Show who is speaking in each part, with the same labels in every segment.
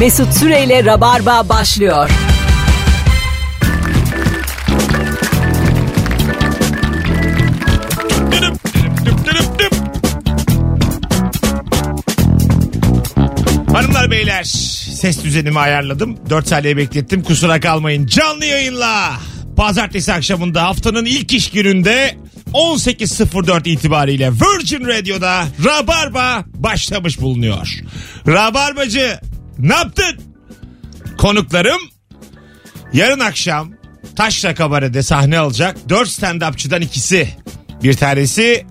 Speaker 1: Mesut Süreyle Rabarba başlıyor.
Speaker 2: Dırıp, dırıp, dırıp, dırıp. Hanımlar beyler ses düzenimi ayarladım. 4 saniye beklettim kusura kalmayın. Canlı yayınla pazartesi akşamında haftanın ilk iş gününde 18.04 itibariyle Virgin Radio'da Rabarba başlamış bulunuyor. Rabarbacı ne yaptın? Konuklarım yarın akşam Taşra Kabare'de sahne alacak 4 stand-upçıdan ikisi. Bir tanesi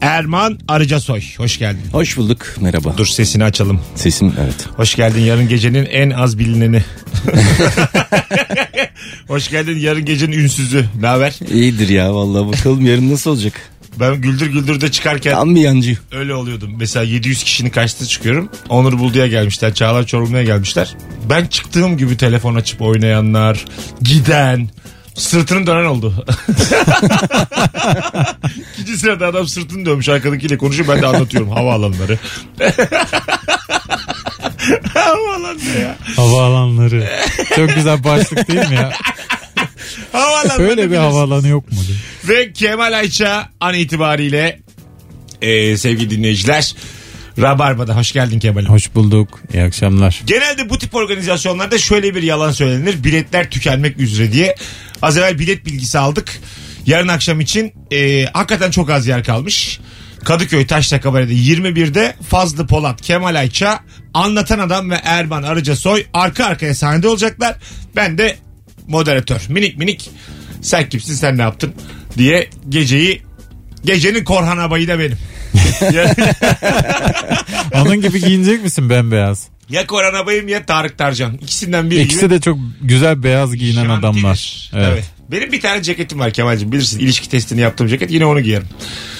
Speaker 2: Erman Arıcasoy. Hoş geldin.
Speaker 3: Hoş bulduk. Merhaba.
Speaker 2: Dur sesini açalım.
Speaker 3: Sesim evet.
Speaker 2: Hoş geldin yarın gecenin en az bilineni. Hoş geldin yarın gecenin ünsüzü. Ne haber?
Speaker 3: İyidir ya vallahi bakalım yarın nasıl olacak.
Speaker 2: Ben güldür güldür de çıkarken
Speaker 3: Tam bir yancı.
Speaker 2: öyle oluyordum. Mesela 700 kişinin karşısına çıkıyorum. Onur Buldu'ya gelmişler. Çağlar Çorumlu'ya gelmişler. Ben çıktığım gibi telefon açıp oynayanlar, giden, sırtını dönen oldu. İkinci sırada adam sırtını dönmüş arkadakiyle konuşuyor. Ben de anlatıyorum havaalanları. Havaalanları ya.
Speaker 4: Havaalanları. Çok güzel başlık değil mi ya?
Speaker 2: Havaalanları
Speaker 4: Öyle bir
Speaker 2: biliyorsun.
Speaker 4: havaalanı yok mu? diye.
Speaker 2: Ve Kemal Ayça an itibariyle e, sevgili dinleyiciler Rabarba'da hoş geldin Kemal'im.
Speaker 4: Hoş bulduk. İyi akşamlar.
Speaker 2: Genelde bu tip organizasyonlarda şöyle bir yalan söylenir. Biletler tükenmek üzere diye. Az evvel bilet bilgisi aldık. Yarın akşam için e, hakikaten çok az yer kalmış. Kadıköy Taşla Kabare'de 21'de Fazlı Polat, Kemal Ayça, Anlatan Adam ve Erman Arıcasoy arka arkaya sahnede olacaklar. Ben de moderatör. Minik minik sen kimsin sen ne yaptın diye geceyi gecenin Korhan abayı da benim. ya,
Speaker 4: Onun gibi giyinecek misin bembeyaz?
Speaker 2: ya Korhan abayım ya Tarık Tarcan. İkisinden biri gibi.
Speaker 4: İkisi de çok güzel beyaz giyinen
Speaker 2: Şantidir.
Speaker 4: adamlar.
Speaker 2: Evet.
Speaker 4: Evet.
Speaker 2: Benim bir tane ceketim var Kemal'cim bilirsin. ilişki testini yaptığım ceket yine onu giyerim.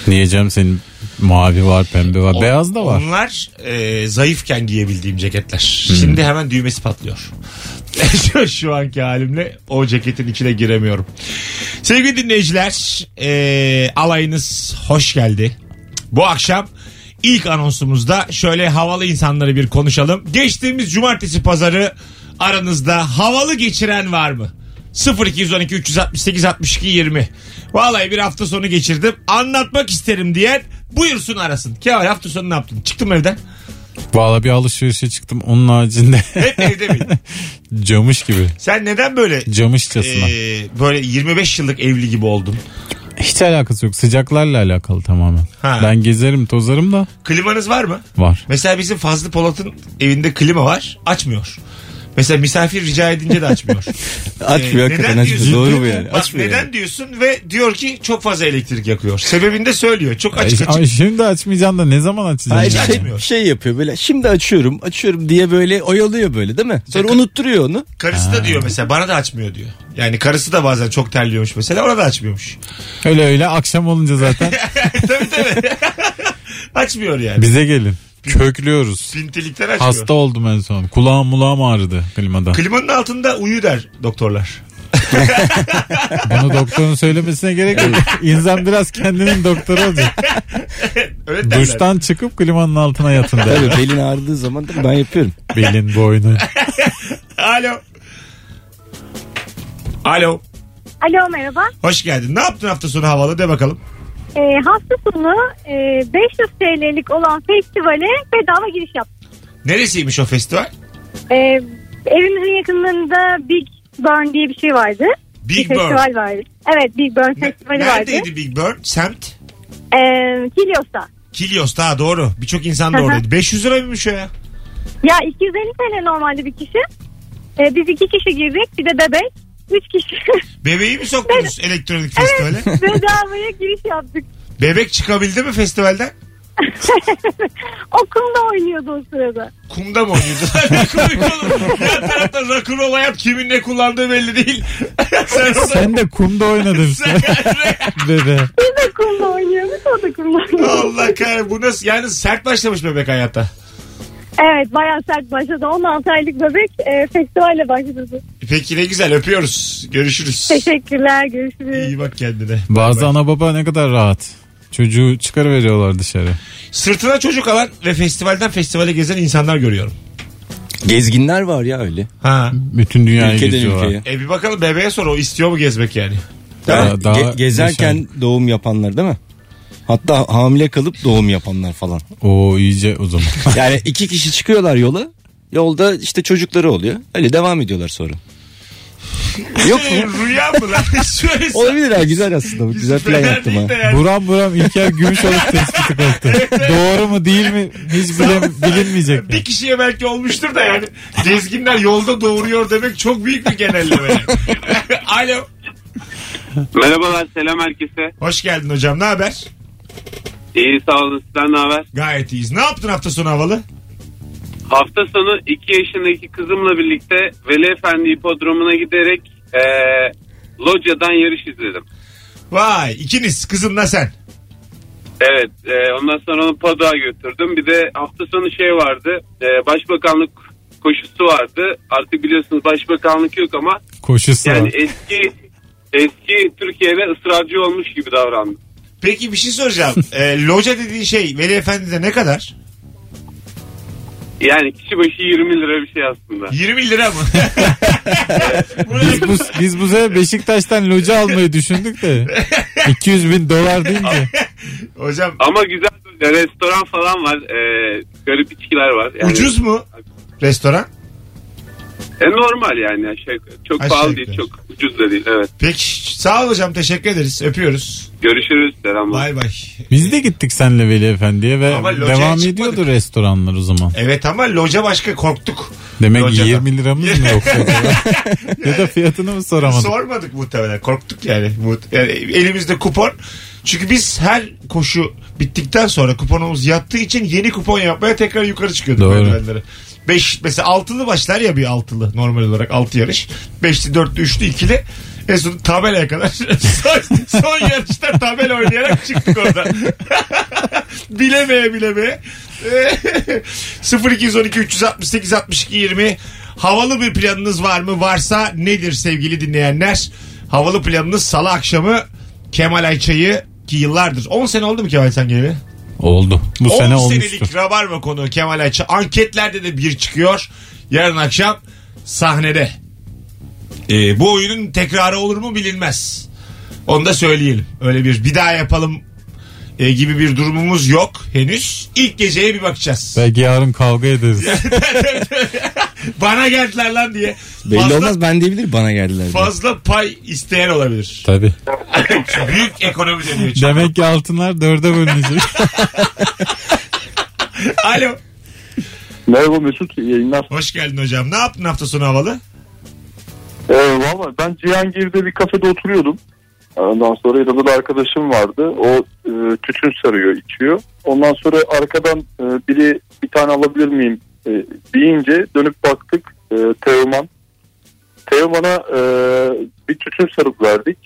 Speaker 4: Diyeceğim senin mavi var, pembe var, beyaz da var. Hmm.
Speaker 2: Onlar e, zayıfken giyebildiğim ceketler. Şimdi hemen düğmesi patlıyor. şu, şu anki halimle o ceketin içine giremiyorum. Sevgili dinleyiciler e, alayınız hoş geldi. Bu akşam ilk anonsumuzda şöyle havalı insanları bir konuşalım. Geçtiğimiz cumartesi pazarı aranızda havalı geçiren var mı? 0212 368 62 20. Vallahi bir hafta sonu geçirdim. Anlatmak isterim diyen buyursun arasın. Kemal hafta sonu ne yaptın? Çıktım evden.
Speaker 4: Valla bir alışverişe çıktım onun haricinde
Speaker 2: Hep evde miydin?
Speaker 4: camış gibi.
Speaker 2: Sen neden böyle
Speaker 4: Camışçasına.
Speaker 2: e, böyle 25 yıllık evli gibi oldun?
Speaker 4: Hiç alakası yok. Sıcaklarla alakalı tamamen.
Speaker 2: Ha.
Speaker 4: Ben gezerim tozarım da
Speaker 2: Klimanız var mı?
Speaker 4: var.
Speaker 2: Mesela bizim Fazlı Polat'ın evinde klima var. Açmıyor. Mesela misafir rica edince de açmıyor.
Speaker 3: Açmıyor
Speaker 2: Ee,
Speaker 3: hakikaten
Speaker 2: neden
Speaker 3: açmıyor.
Speaker 2: diyorsun?
Speaker 3: Doğru bu yani.
Speaker 2: Bak,
Speaker 3: Açmıyor.
Speaker 2: neden
Speaker 3: yani.
Speaker 2: diyorsun ve diyor ki çok fazla elektrik yakıyor. Sebebini de söylüyor. Çok açık açık.
Speaker 4: Ay, şimdi açmayacaksın da ne zaman
Speaker 3: Hayır,
Speaker 4: açacaksın?
Speaker 2: Hiç
Speaker 3: şey,
Speaker 2: açmıyor.
Speaker 3: şey yapıyor böyle şimdi açıyorum açıyorum diye böyle oyalıyor böyle değil mi? Sonra unutturuyor onu.
Speaker 2: Karısı da diyor mesela bana da açmıyor diyor. Yani karısı da bazen çok terliyormuş mesela ona da açmıyormuş.
Speaker 4: Öyle öyle akşam olunca zaten
Speaker 2: tabii tabii. açmıyor yani.
Speaker 4: bize gelin. Köklüyoruz.
Speaker 2: Pintilikten açmıyor.
Speaker 4: Hasta oldum en son. Kulağım mulağım ağrıdı klimada.
Speaker 2: Klimanın altında uyu der doktorlar.
Speaker 4: Bunu doktorun söylemesine gerek yok. İnsan biraz kendinin doktoru olacak.
Speaker 2: Öyle derler.
Speaker 4: Duştan çıkıp klimanın altına yatın der.
Speaker 3: Tabii belin ağrıdığı zaman da ben yapıyorum.
Speaker 4: Belin, boynu.
Speaker 2: Alo. Alo.
Speaker 5: Alo merhaba.
Speaker 2: Hoş geldin. Ne yaptın hafta sonu havalı de bakalım.
Speaker 5: Ee, hafta sonu e, 500 TL'lik olan festivale bedava giriş yaptım.
Speaker 2: Neresiymiş o festival?
Speaker 5: Ee, evimizin yakınlarında Big Burn diye bir şey vardı.
Speaker 2: Big
Speaker 5: bir
Speaker 2: Burn.
Speaker 5: festival vardı. Evet Big Burn festivali
Speaker 2: Ne-
Speaker 5: vardı.
Speaker 2: Neredeydi Big Burn? Semt?
Speaker 5: Ee, Kilios'ta.
Speaker 2: Kilios daha doğru. Birçok insan da
Speaker 5: Hı hı.
Speaker 2: oradaydı. 500 lira mıymış o ya?
Speaker 5: Ya 250 TL normalde bir kişi. Ee, biz iki kişi girdik bir de bebek. Üç kişi.
Speaker 2: Bebeği mi soktunuz elektronik festivale?
Speaker 5: Bedavaya giriş yaptık.
Speaker 2: Bebek çıkabildi mi festivalden?
Speaker 5: Okulda oynuyordu o sırada.
Speaker 2: Kumda mı oynuyordular? Ne komik oğlum. Yan tarafta rock'n'roll hayat kimin ne kullandığı belli değil. sen orada...
Speaker 4: Sen de kumda oynadın işte. Bebe.
Speaker 5: Biz de kumda oynuyorduk o da kumda oynuyordu.
Speaker 2: Allah kahretsin. Bu nasıl? Yani sert başlamış bebek hayata.
Speaker 5: Evet bayağı sert başladı. 16 aylık bebek e, festivalle başladı.
Speaker 2: Peki ne güzel öpüyoruz. Görüşürüz.
Speaker 5: Teşekkürler görüşürüz.
Speaker 2: İyi bak kendine.
Speaker 4: Bazı ana baba ne kadar rahat. Çocuğu çıkarıveriyorlar dışarı.
Speaker 2: Sırtına çocuk alan ve festivalden festivale gezen insanlar görüyorum.
Speaker 3: Gezginler var ya öyle.
Speaker 2: Ha.
Speaker 4: Bütün dünyayı
Speaker 3: Ülkeden
Speaker 4: geziyorlar.
Speaker 3: ülkeye.
Speaker 2: E bir bakalım bebeğe sor o istiyor mu gezmek yani?
Speaker 4: Daha-
Speaker 3: Yani
Speaker 4: daha
Speaker 3: ge- gezerken doğum yapanlar değil mi? Hatta hamile kalıp doğum yapanlar falan.
Speaker 4: Oo iyice o zaman.
Speaker 3: Yani iki kişi çıkıyorlar yola. Yolda işte çocukları oluyor. Öyle devam ediyorlar sonra. Yok mu?
Speaker 2: Şey, Rüya mı lan? Şöyle
Speaker 3: Olabilir ha güzel aslında. bu. Güzel plan
Speaker 2: Fena
Speaker 3: yaptım ha.
Speaker 2: değil de yani.
Speaker 4: buram buram İlker Gümüşoluk tespiti koptu. Doğru mu değil mi hiç bile, bilinmeyecek. yani.
Speaker 2: Bir kişiye belki olmuştur da yani. Gezginler yolda doğuruyor demek çok büyük bir genelleme. yani. Alo.
Speaker 6: Merhabalar selam herkese.
Speaker 2: Hoş geldin hocam. Ne haber?
Speaker 6: İyi sağ olun sizden ne haber?
Speaker 2: Gayet iyiyiz. Ne yaptın hafta sonu havalı?
Speaker 6: Hafta sonu 2 yaşındaki kızımla birlikte Veli Efendi hipodromuna giderek eee locadan yarış izledim.
Speaker 2: Vay ikiniz kızınla sen.
Speaker 6: Evet eee, ondan sonra onu Padua götürdüm. Bir de hafta sonu şey vardı eee, başbakanlık koşusu vardı. Artık biliyorsunuz başbakanlık yok ama
Speaker 4: Koşusu
Speaker 6: yani
Speaker 4: var.
Speaker 6: eski eski Türkiye'de ısrarcı olmuş gibi davrandı.
Speaker 2: Peki bir şey soracağım. Ee, loca dediğin şey Veli Efendi'de ne kadar?
Speaker 6: Yani kişi başı 20 lira bir şey aslında.
Speaker 2: 20 lira mı?
Speaker 4: Biz bu, biz bu sene Beşiktaş'tan loca almayı düşündük de. 200 bin dolar deyince.
Speaker 2: hocam
Speaker 6: Ama güzel böyle restoran falan var. Eee garip içkiler var. Yani,
Speaker 2: ucuz mu? Restoran?
Speaker 6: E, normal yani aşağı yukarı. Çok
Speaker 2: Aşağı
Speaker 6: pahalı
Speaker 2: yukarı.
Speaker 6: değil, çok ucuz da değil. Evet.
Speaker 2: Peki sağ ol hocam teşekkür ederiz. Öpüyoruz.
Speaker 6: Görüşürüz. Selamlar.
Speaker 2: Bay bay.
Speaker 4: Biz de gittik senle Veli Efendi'ye ve
Speaker 2: Ama locaya
Speaker 4: devam
Speaker 2: çıkmadık.
Speaker 4: ediyordu restoranlar o zaman.
Speaker 2: Evet ama loca başka korktuk.
Speaker 4: Demek
Speaker 2: Locadan.
Speaker 4: 20 liramız mı yoksa? ya da fiyatını mı soramadık?
Speaker 2: Sormadık muhtemelen. Korktuk yani. Muht- yani. Elimizde kupon. Çünkü biz her koşu bittikten sonra kuponumuz yattığı için yeni kupon yapmaya tekrar yukarı çıkıyorduk
Speaker 4: Doğru.
Speaker 2: merdivenlere. Beş, mesela altılı başlar ya bir altılı normal olarak altı yarış. Beşli, dörtlü, üçlü, ikili. En son tabelaya kadar son, son yarışta tabela oynayarak çıktık oradan. bilemeye bilemeye. 0212 368 62 20 havalı bir planınız var mı? Varsa nedir sevgili dinleyenler? Havalı planınız salı akşamı Kemal Ayça'yı ki yıllardır 10 sene oldu mu Kemal sen geleli?
Speaker 4: Oldu. Bu
Speaker 2: 10
Speaker 4: sene olmuştur.
Speaker 2: senelik rabarba konuğu Kemal Ayça. Anketlerde de bir çıkıyor. Yarın akşam sahnede. Ee, bu oyunun tekrarı olur mu bilinmez. Onu da söyleyelim. Öyle bir bir daha yapalım e, gibi bir durumumuz yok henüz. İlk geceye bir bakacağız.
Speaker 4: Belki yarın kavga ederiz.
Speaker 2: Bana geldiler lan diye.
Speaker 3: Belli
Speaker 2: fazla,
Speaker 3: olmaz ben diyebilir bana geldiler. diye.
Speaker 2: Fazla pay isteyen olabilir.
Speaker 4: Tabii.
Speaker 2: Büyük ekonomi dönüyor. çünkü.
Speaker 4: Demek ki altınlar dörde bölünecek.
Speaker 2: Alo.
Speaker 7: Merhaba Mesut iyi yayınlar.
Speaker 2: Hoş geldin hocam. Ne yaptın hafta sonu havalı?
Speaker 7: Ee, Valla ben Cihangir'de bir kafede oturuyordum. Ondan sonra yanımda da arkadaşım vardı. O e, tütün sarıyor içiyor. Ondan sonra arkadan e, biri bir tane alabilir miyim e, deyince dönüp baktık e, Teoman. Teoman'a e, bir tütün sarıp verdik.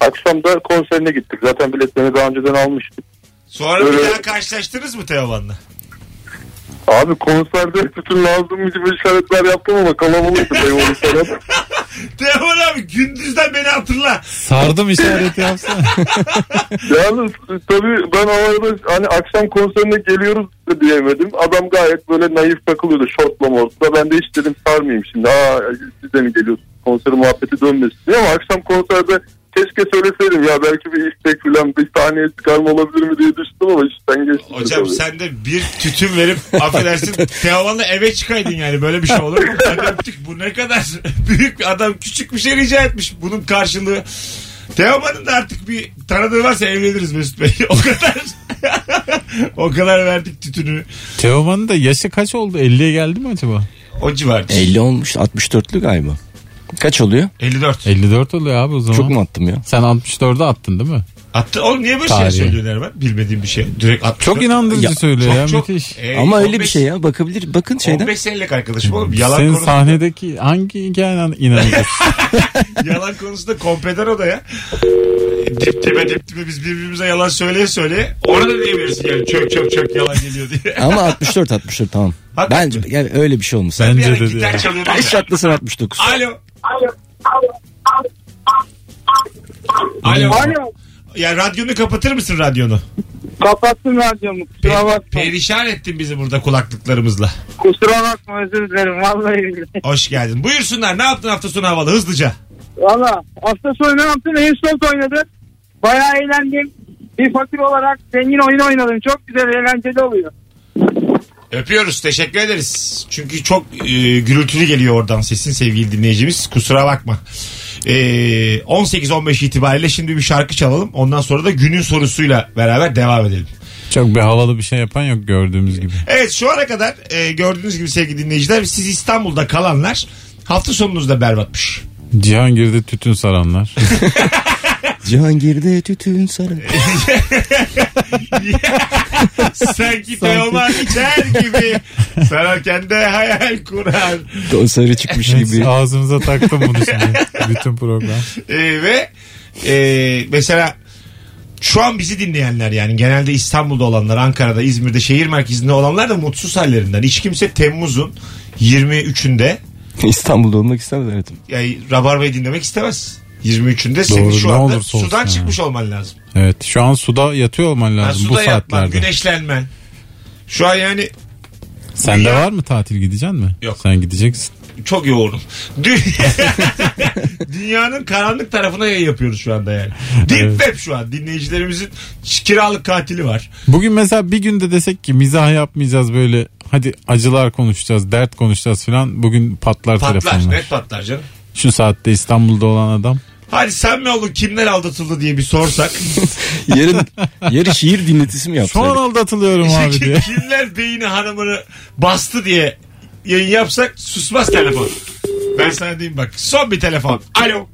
Speaker 7: Akşam da konserine gittik. Zaten biletlerini daha önceden almıştık.
Speaker 2: Sonra bir
Speaker 7: Öyle.
Speaker 2: daha karşılaştınız mı Teoman'la?
Speaker 7: Abi konserde tütün lazım gibi işaretler yaptım ama kalabalıktı Teoman'ın falan.
Speaker 2: Teoman abi gündüzden beni hatırla.
Speaker 4: Sardım işareti yapsana.
Speaker 7: Yalnız tabii ben o arada hani akşam konserine geliyoruz da diyemedim. Adam gayet böyle naif takılıyordu şortla mortla. Ben de hiç dedim sarmayayım şimdi. Aa siz de mi geliyorsunuz? Konser muhabbeti dönmesin diye ama akşam konserde keşke söyleseydim ya belki bir istek falan bir sahneye çıkarma olabilir mi diye düşündüm ama işten geçti.
Speaker 2: Hocam
Speaker 7: tabii.
Speaker 2: sen de bir tütün verip affedersin Teoman'la eve çıkaydın yani böyle bir şey olur mu? Adam tük- bu ne kadar büyük bir adam küçük bir şey rica etmiş bunun karşılığı. Teoman'ın da artık bir tanıdığı varsa evleniriz Mesut Bey. O kadar o kadar verdik tütünü.
Speaker 4: Teoman'ın da yaşı kaç oldu? 50'ye geldi mi acaba?
Speaker 2: O civarda.
Speaker 3: 50 olmuş 64'lü galiba. Kaç oluyor?
Speaker 2: 54.
Speaker 4: 54 oluyor abi o zaman.
Speaker 3: Çok mu attım ya?
Speaker 4: Sen 64'e attın değil mi?
Speaker 2: Attı. Oğlum niye böyle
Speaker 4: Tarihi.
Speaker 2: şey söylüyorsun Erman? Bilmediğim bir şey. Direkt attı.
Speaker 4: Çok inandırıcı
Speaker 3: Ya,
Speaker 4: söylüyor ya
Speaker 2: çok. e,
Speaker 4: müthiş.
Speaker 2: Ey,
Speaker 3: Ama öyle
Speaker 2: 15
Speaker 3: bir şey ya bakabilir. Bakın şeyden.
Speaker 2: 15 senelik arkadaşım oğlum. Yalan,
Speaker 4: Senin
Speaker 2: konusu,
Speaker 4: sahnedeki hangi hikayen inanılır?
Speaker 2: yalan konusunda kompeder o da ya. Dip dibe dip dibe biz birbirimize yalan söyleye söyleye. Orada da diyebilirsin yani çök çök çök yalan geliyor diye.
Speaker 3: Ama 64 64 tamam.
Speaker 2: Hakikaten.
Speaker 3: Bence yani öyle bir şey olmuş.
Speaker 2: Bir
Speaker 4: Bence
Speaker 2: ara
Speaker 4: de
Speaker 2: gitar
Speaker 4: diyor.
Speaker 2: çalıyordun
Speaker 3: Taş
Speaker 2: ya.
Speaker 3: çatlasın 69.
Speaker 2: Alo. Alo. Alo. Ya radyonu kapatır mısın radyonu?
Speaker 8: Kapattım radyomu kusura
Speaker 2: Pe-
Speaker 8: bakma.
Speaker 2: perişan ettin bizi burada kulaklıklarımızla.
Speaker 8: Kusura bakma özür dilerim vallahi billahi.
Speaker 2: Hoş geldin. Buyursunlar ne yaptın hafta sonu havalı hızlıca.
Speaker 8: Valla hafta sonu ne yaptım? Airsoft oynadım. Bayağı eğlendim. Bir fakir olarak zengin oyunu oynadım. Çok güzel eğlenceli oluyor.
Speaker 2: Öpüyoruz teşekkür ederiz. Çünkü çok e, gürültülü geliyor oradan sesin sevgili dinleyicimiz. Kusura bakma. E, 18-15 itibariyle şimdi bir şarkı çalalım. Ondan sonra da günün sorusuyla beraber devam edelim.
Speaker 4: Çok bir havalı bir şey yapan yok gördüğümüz gibi.
Speaker 2: Evet şu ana kadar e, gördüğünüz gibi sevgili dinleyiciler siz İstanbul'da kalanlar hafta sonunuz da berbatmış.
Speaker 4: Cihan girdi tütün saranlar.
Speaker 3: Cihangir'de tütün sarı.
Speaker 2: Sanki Teoman içer gibi sararken de hayal kurar.
Speaker 3: sarı çıkmış
Speaker 4: Neyse,
Speaker 3: gibi.
Speaker 4: Ağzımıza taktım bunu şimdi. Bütün program.
Speaker 2: Ee, ve e, mesela şu an bizi dinleyenler yani genelde İstanbul'da olanlar, Ankara'da, İzmir'de, şehir merkezinde olanlar da mutsuz hallerinden. Hiç kimse Temmuz'un 23'ünde
Speaker 3: İstanbul'da olmak istemez hayatım.
Speaker 2: yani Rabarba'yı dinlemek istemez. 23'ünde senin
Speaker 4: Doğru,
Speaker 2: şu
Speaker 4: ne
Speaker 2: anda
Speaker 4: olursa olsun
Speaker 2: sudan
Speaker 4: yani.
Speaker 2: çıkmış olman lazım.
Speaker 4: Evet şu an suda yatıyor olman
Speaker 2: Yani
Speaker 4: lazım bu
Speaker 2: suda yatman,
Speaker 4: saatlerde.
Speaker 2: güneşlenmen. Şu an yani
Speaker 4: Sende
Speaker 2: Dünya-
Speaker 4: var mı tatil gideceksin mi?
Speaker 2: Yok.
Speaker 4: Sen gideceksin.
Speaker 2: çok yoğunum. Dü- Dünyanın karanlık tarafına yayın yapıyoruz şu anda yani. Deep
Speaker 4: Evet.
Speaker 2: Web şu an. Dinleyicilerimizin kiralık katili var.
Speaker 4: Bugün mesela bir günde desek ki mizah yapmayacağız böyle hadi acılar konuşacağız, dert konuşacağız filan. Bugün patlar,
Speaker 2: Patlar.
Speaker 4: telefonlar.
Speaker 2: Net patlar canım.
Speaker 4: Şu saatte İstanbul'da olan adam.
Speaker 2: Hadi sen mi oğlum kimler aldatıldı diye bir sorsak.
Speaker 3: Yarın, yarın şiir dinletisi mi
Speaker 4: Şu an
Speaker 3: yapsaydık?
Speaker 4: aldatılıyorum abi diye.
Speaker 2: kimler beyni hanımını bastı diye yayın yapsak susmaz telefon. Ben sana diyeyim bak. Son bir telefon. Alo.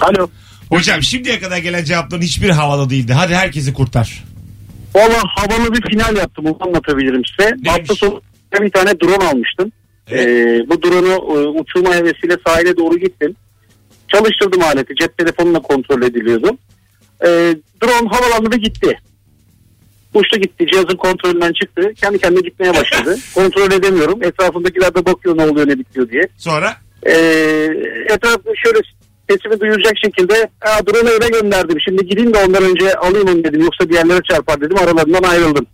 Speaker 7: Alo.
Speaker 2: Hocam şimdiye kadar gelen cevapların hiçbir havalı değildi. Hadi herkesi kurtar.
Speaker 7: Valla havalı bir final yaptım onu anlatabilirim size.
Speaker 2: Neymiş?
Speaker 7: Hafta sonu bir tane drone almıştım.
Speaker 2: Evet.
Speaker 7: Ee, bu drone'u e, uçurma hevesiyle sahile doğru gittim. Çalıştırdım aleti cep telefonla kontrol ediliyordu. Ee, drone havalandı ve gitti. Uçtu gitti cihazın kontrolünden çıktı. Kendi kendine gitmeye başladı. kontrol edemiyorum. Etrafındakiler de bakıyor ne oluyor ne bitiyor diye.
Speaker 2: Sonra
Speaker 7: Ee, etraf şöyle sesimi duyulacak şekilde "Aa, drone'u eve gönderdim. Şimdi gideyim de ondan önce alayım onu dedim. Yoksa bir yerlere çarpar dedim. Aralarından ayrıldım.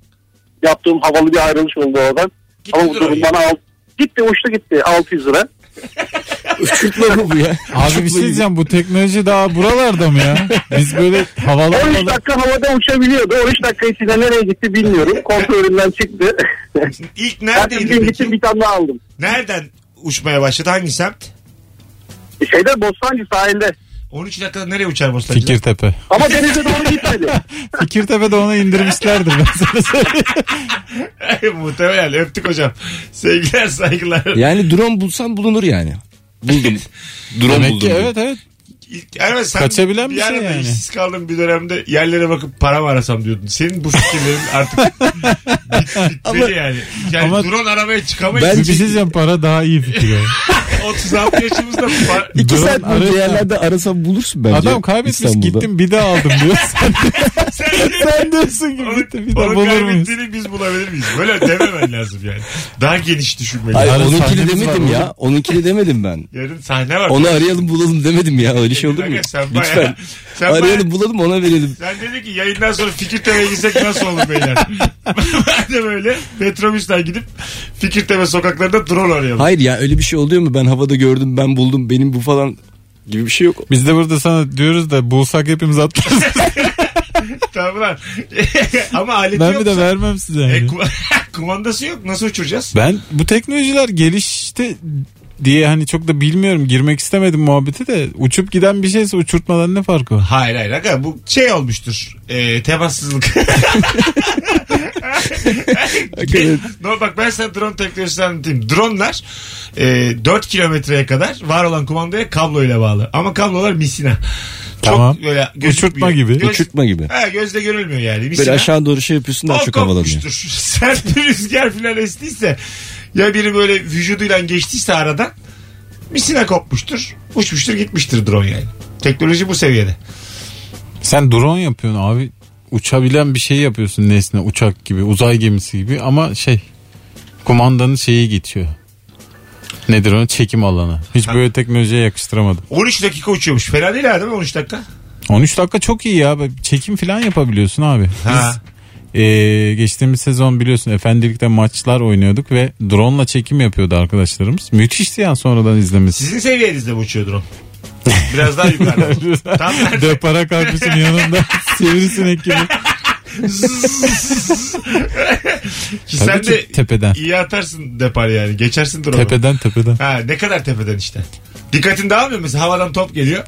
Speaker 7: Yaptığım havalı bir ayrılış oldu oradan.
Speaker 2: Gitti
Speaker 7: Ama bu
Speaker 2: drone
Speaker 7: durum
Speaker 2: ya.
Speaker 7: bana al- gitti uçtu gitti 600 lira.
Speaker 3: Uçurtma mı bu ya?
Speaker 4: Abi bir şey diyeceğim bu teknoloji daha buralarda mı ya? Biz böyle havalı
Speaker 7: 13
Speaker 4: havalı.
Speaker 7: dakika havada uçabiliyordu. 13 dakika içinde nereye gitti bilmiyorum. Kontrolünden çıktı.
Speaker 2: ilk
Speaker 7: Ertesi gün
Speaker 2: neredeydi
Speaker 7: gittim
Speaker 2: peki?
Speaker 7: bir tane daha aldım.
Speaker 2: Nereden uçmaya başladı? Hangi semt?
Speaker 7: Şeyde Bostancı sahilde.
Speaker 2: 13 dakikada nereye uçar Bostancı'da?
Speaker 4: Fikirtepe.
Speaker 7: Ama denize doğru gitmedi.
Speaker 4: Fikirtepe'de onu indirmişlerdir ben sana söyleyeyim.
Speaker 2: Muhtemelen öptük hocam. Sevgiler saygılar.
Speaker 3: Yani drone bulsam bulunur yani. Buldum. drone
Speaker 4: Demek
Speaker 3: buldum.
Speaker 4: ki evet evet.
Speaker 2: İlk- Yani sen
Speaker 4: Kaçabilen bir şey
Speaker 2: arada
Speaker 4: yani.
Speaker 2: işsiz kaldığın bir dönemde yerlere bakıp para mı arasam diyordun. Senin bu fikirlerin artık bit- bitmeli yani. Yani
Speaker 4: Ama-
Speaker 2: drone aramaya çıkamayız.
Speaker 4: Bir
Speaker 3: Bence-
Speaker 4: şey diyeceğim para daha iyi fikir. yani.
Speaker 2: 36 yaşımızda par-
Speaker 3: İki
Speaker 4: Drone
Speaker 3: saat boyunca
Speaker 4: arıyorsan-
Speaker 3: yerlerde arasam bulursun bence.
Speaker 4: Adam kaybetmiş
Speaker 3: İstanbul'da.
Speaker 4: gittim bir daha aldım diyor. Sen,
Speaker 2: sen de-
Speaker 4: sen diyorsun ki gitti bir daha
Speaker 2: Onun
Speaker 4: bulur muyuz?
Speaker 2: kaybettiğini biz bulabilir miyiz? Böyle dememen lazım yani. Daha geniş düşünmeli.
Speaker 3: Hayır
Speaker 4: Yarın
Speaker 3: onunkini
Speaker 4: sahnemiz var
Speaker 3: demedim
Speaker 4: oğlum.
Speaker 3: ya. Onunkini demedim ben.
Speaker 2: Yarın sahne var.
Speaker 3: Onu arayalım bulalım demedim ya. Öyle şey olur mu?
Speaker 2: Aga, sen bayağı-
Speaker 3: Lütfen.
Speaker 2: sen bayağı-
Speaker 3: Arayalım bulalım ona verelim.
Speaker 2: Sen dedin ki yayından sonra Fikirtepe'ye gitsek nasıl olur beyler? ben de böyle metrobüsten gidip Fikirtepe sokaklarında drone arayalım.
Speaker 3: Hayır ya öyle bir şey oluyor mu? Ben havada gördüm ben buldum benim bu falan gibi bir şey yok.
Speaker 4: Biz de burada sana diyoruz da bulsak hepimiz atlarız.
Speaker 2: Tamam lan. Ama aleti
Speaker 4: ben
Speaker 2: yok.
Speaker 4: bir de vermem size.
Speaker 2: E,
Speaker 4: yani.
Speaker 2: ku- kumandası yok. Nasıl uçuracağız?
Speaker 4: Ben bu teknolojiler gelişti diye hani çok da bilmiyorum girmek istemedim muhabbeti de uçup giden bir şeyse uçurtmadan ne farkı var?
Speaker 2: Hayır hayır. Aga, bu şey olmuştur. E, temassızlık.
Speaker 3: Hakikaten.
Speaker 2: no, bak ben sana drone teknolojisini anlatayım. Dronlar e, 4 kilometreye kadar var olan kumandaya kabloyla bağlı. Ama kablolar misina.
Speaker 4: Tamam.
Speaker 2: böyle
Speaker 4: Uçurtma gibi.
Speaker 3: Uçurtma gibi.
Speaker 2: Ha, gözle görülmüyor yani. Misina.
Speaker 3: Böyle aşağı doğru şey yapıyorsun daha
Speaker 2: Bal
Speaker 3: çok havalanıyor.
Speaker 2: kopmuştur. Sert bir rüzgar filan estiyse ya biri böyle vücuduyla geçtiyse aradan misina kopmuştur. Uçmuştur gitmiştir drone yani. Teknoloji bu seviyede.
Speaker 4: Sen drone yapıyorsun abi. Uçabilen bir şey yapıyorsun nesne uçak gibi uzay gemisi gibi ama şey kumandanın şeyi geçiyor. Nedir onu çekim alanı. Hiç böyle teknolojiye yakıştıramadım.
Speaker 2: 13 dakika uçuyormuş. Fena değil ha değil mi 13 dakika?
Speaker 4: 13 dakika çok iyi ya. Çekim falan yapabiliyorsun abi. Biz
Speaker 2: Ha.
Speaker 4: Ee, geçtiğimiz sezon biliyorsun efendilikte maçlar oynuyorduk ve drone'la çekim yapıyordu arkadaşlarımız. Müthişti yani sonradan izlemesi.
Speaker 2: Sizin seviyenizde mi uçuyor drone? Biraz daha yukarıda. Tam nerede?
Speaker 4: Döpara kalkmışsın yanında sivrisinek gibi.
Speaker 2: Ki sen
Speaker 4: Tabii
Speaker 2: de
Speaker 4: ki tepeden.
Speaker 2: iyi atarsın depar yani. Geçersin drone'u.
Speaker 4: Tepeden tepeden.
Speaker 2: Ha ne kadar tepeden işte. Dikkatin dağılmıyor mu? Mesela havadan top geliyor.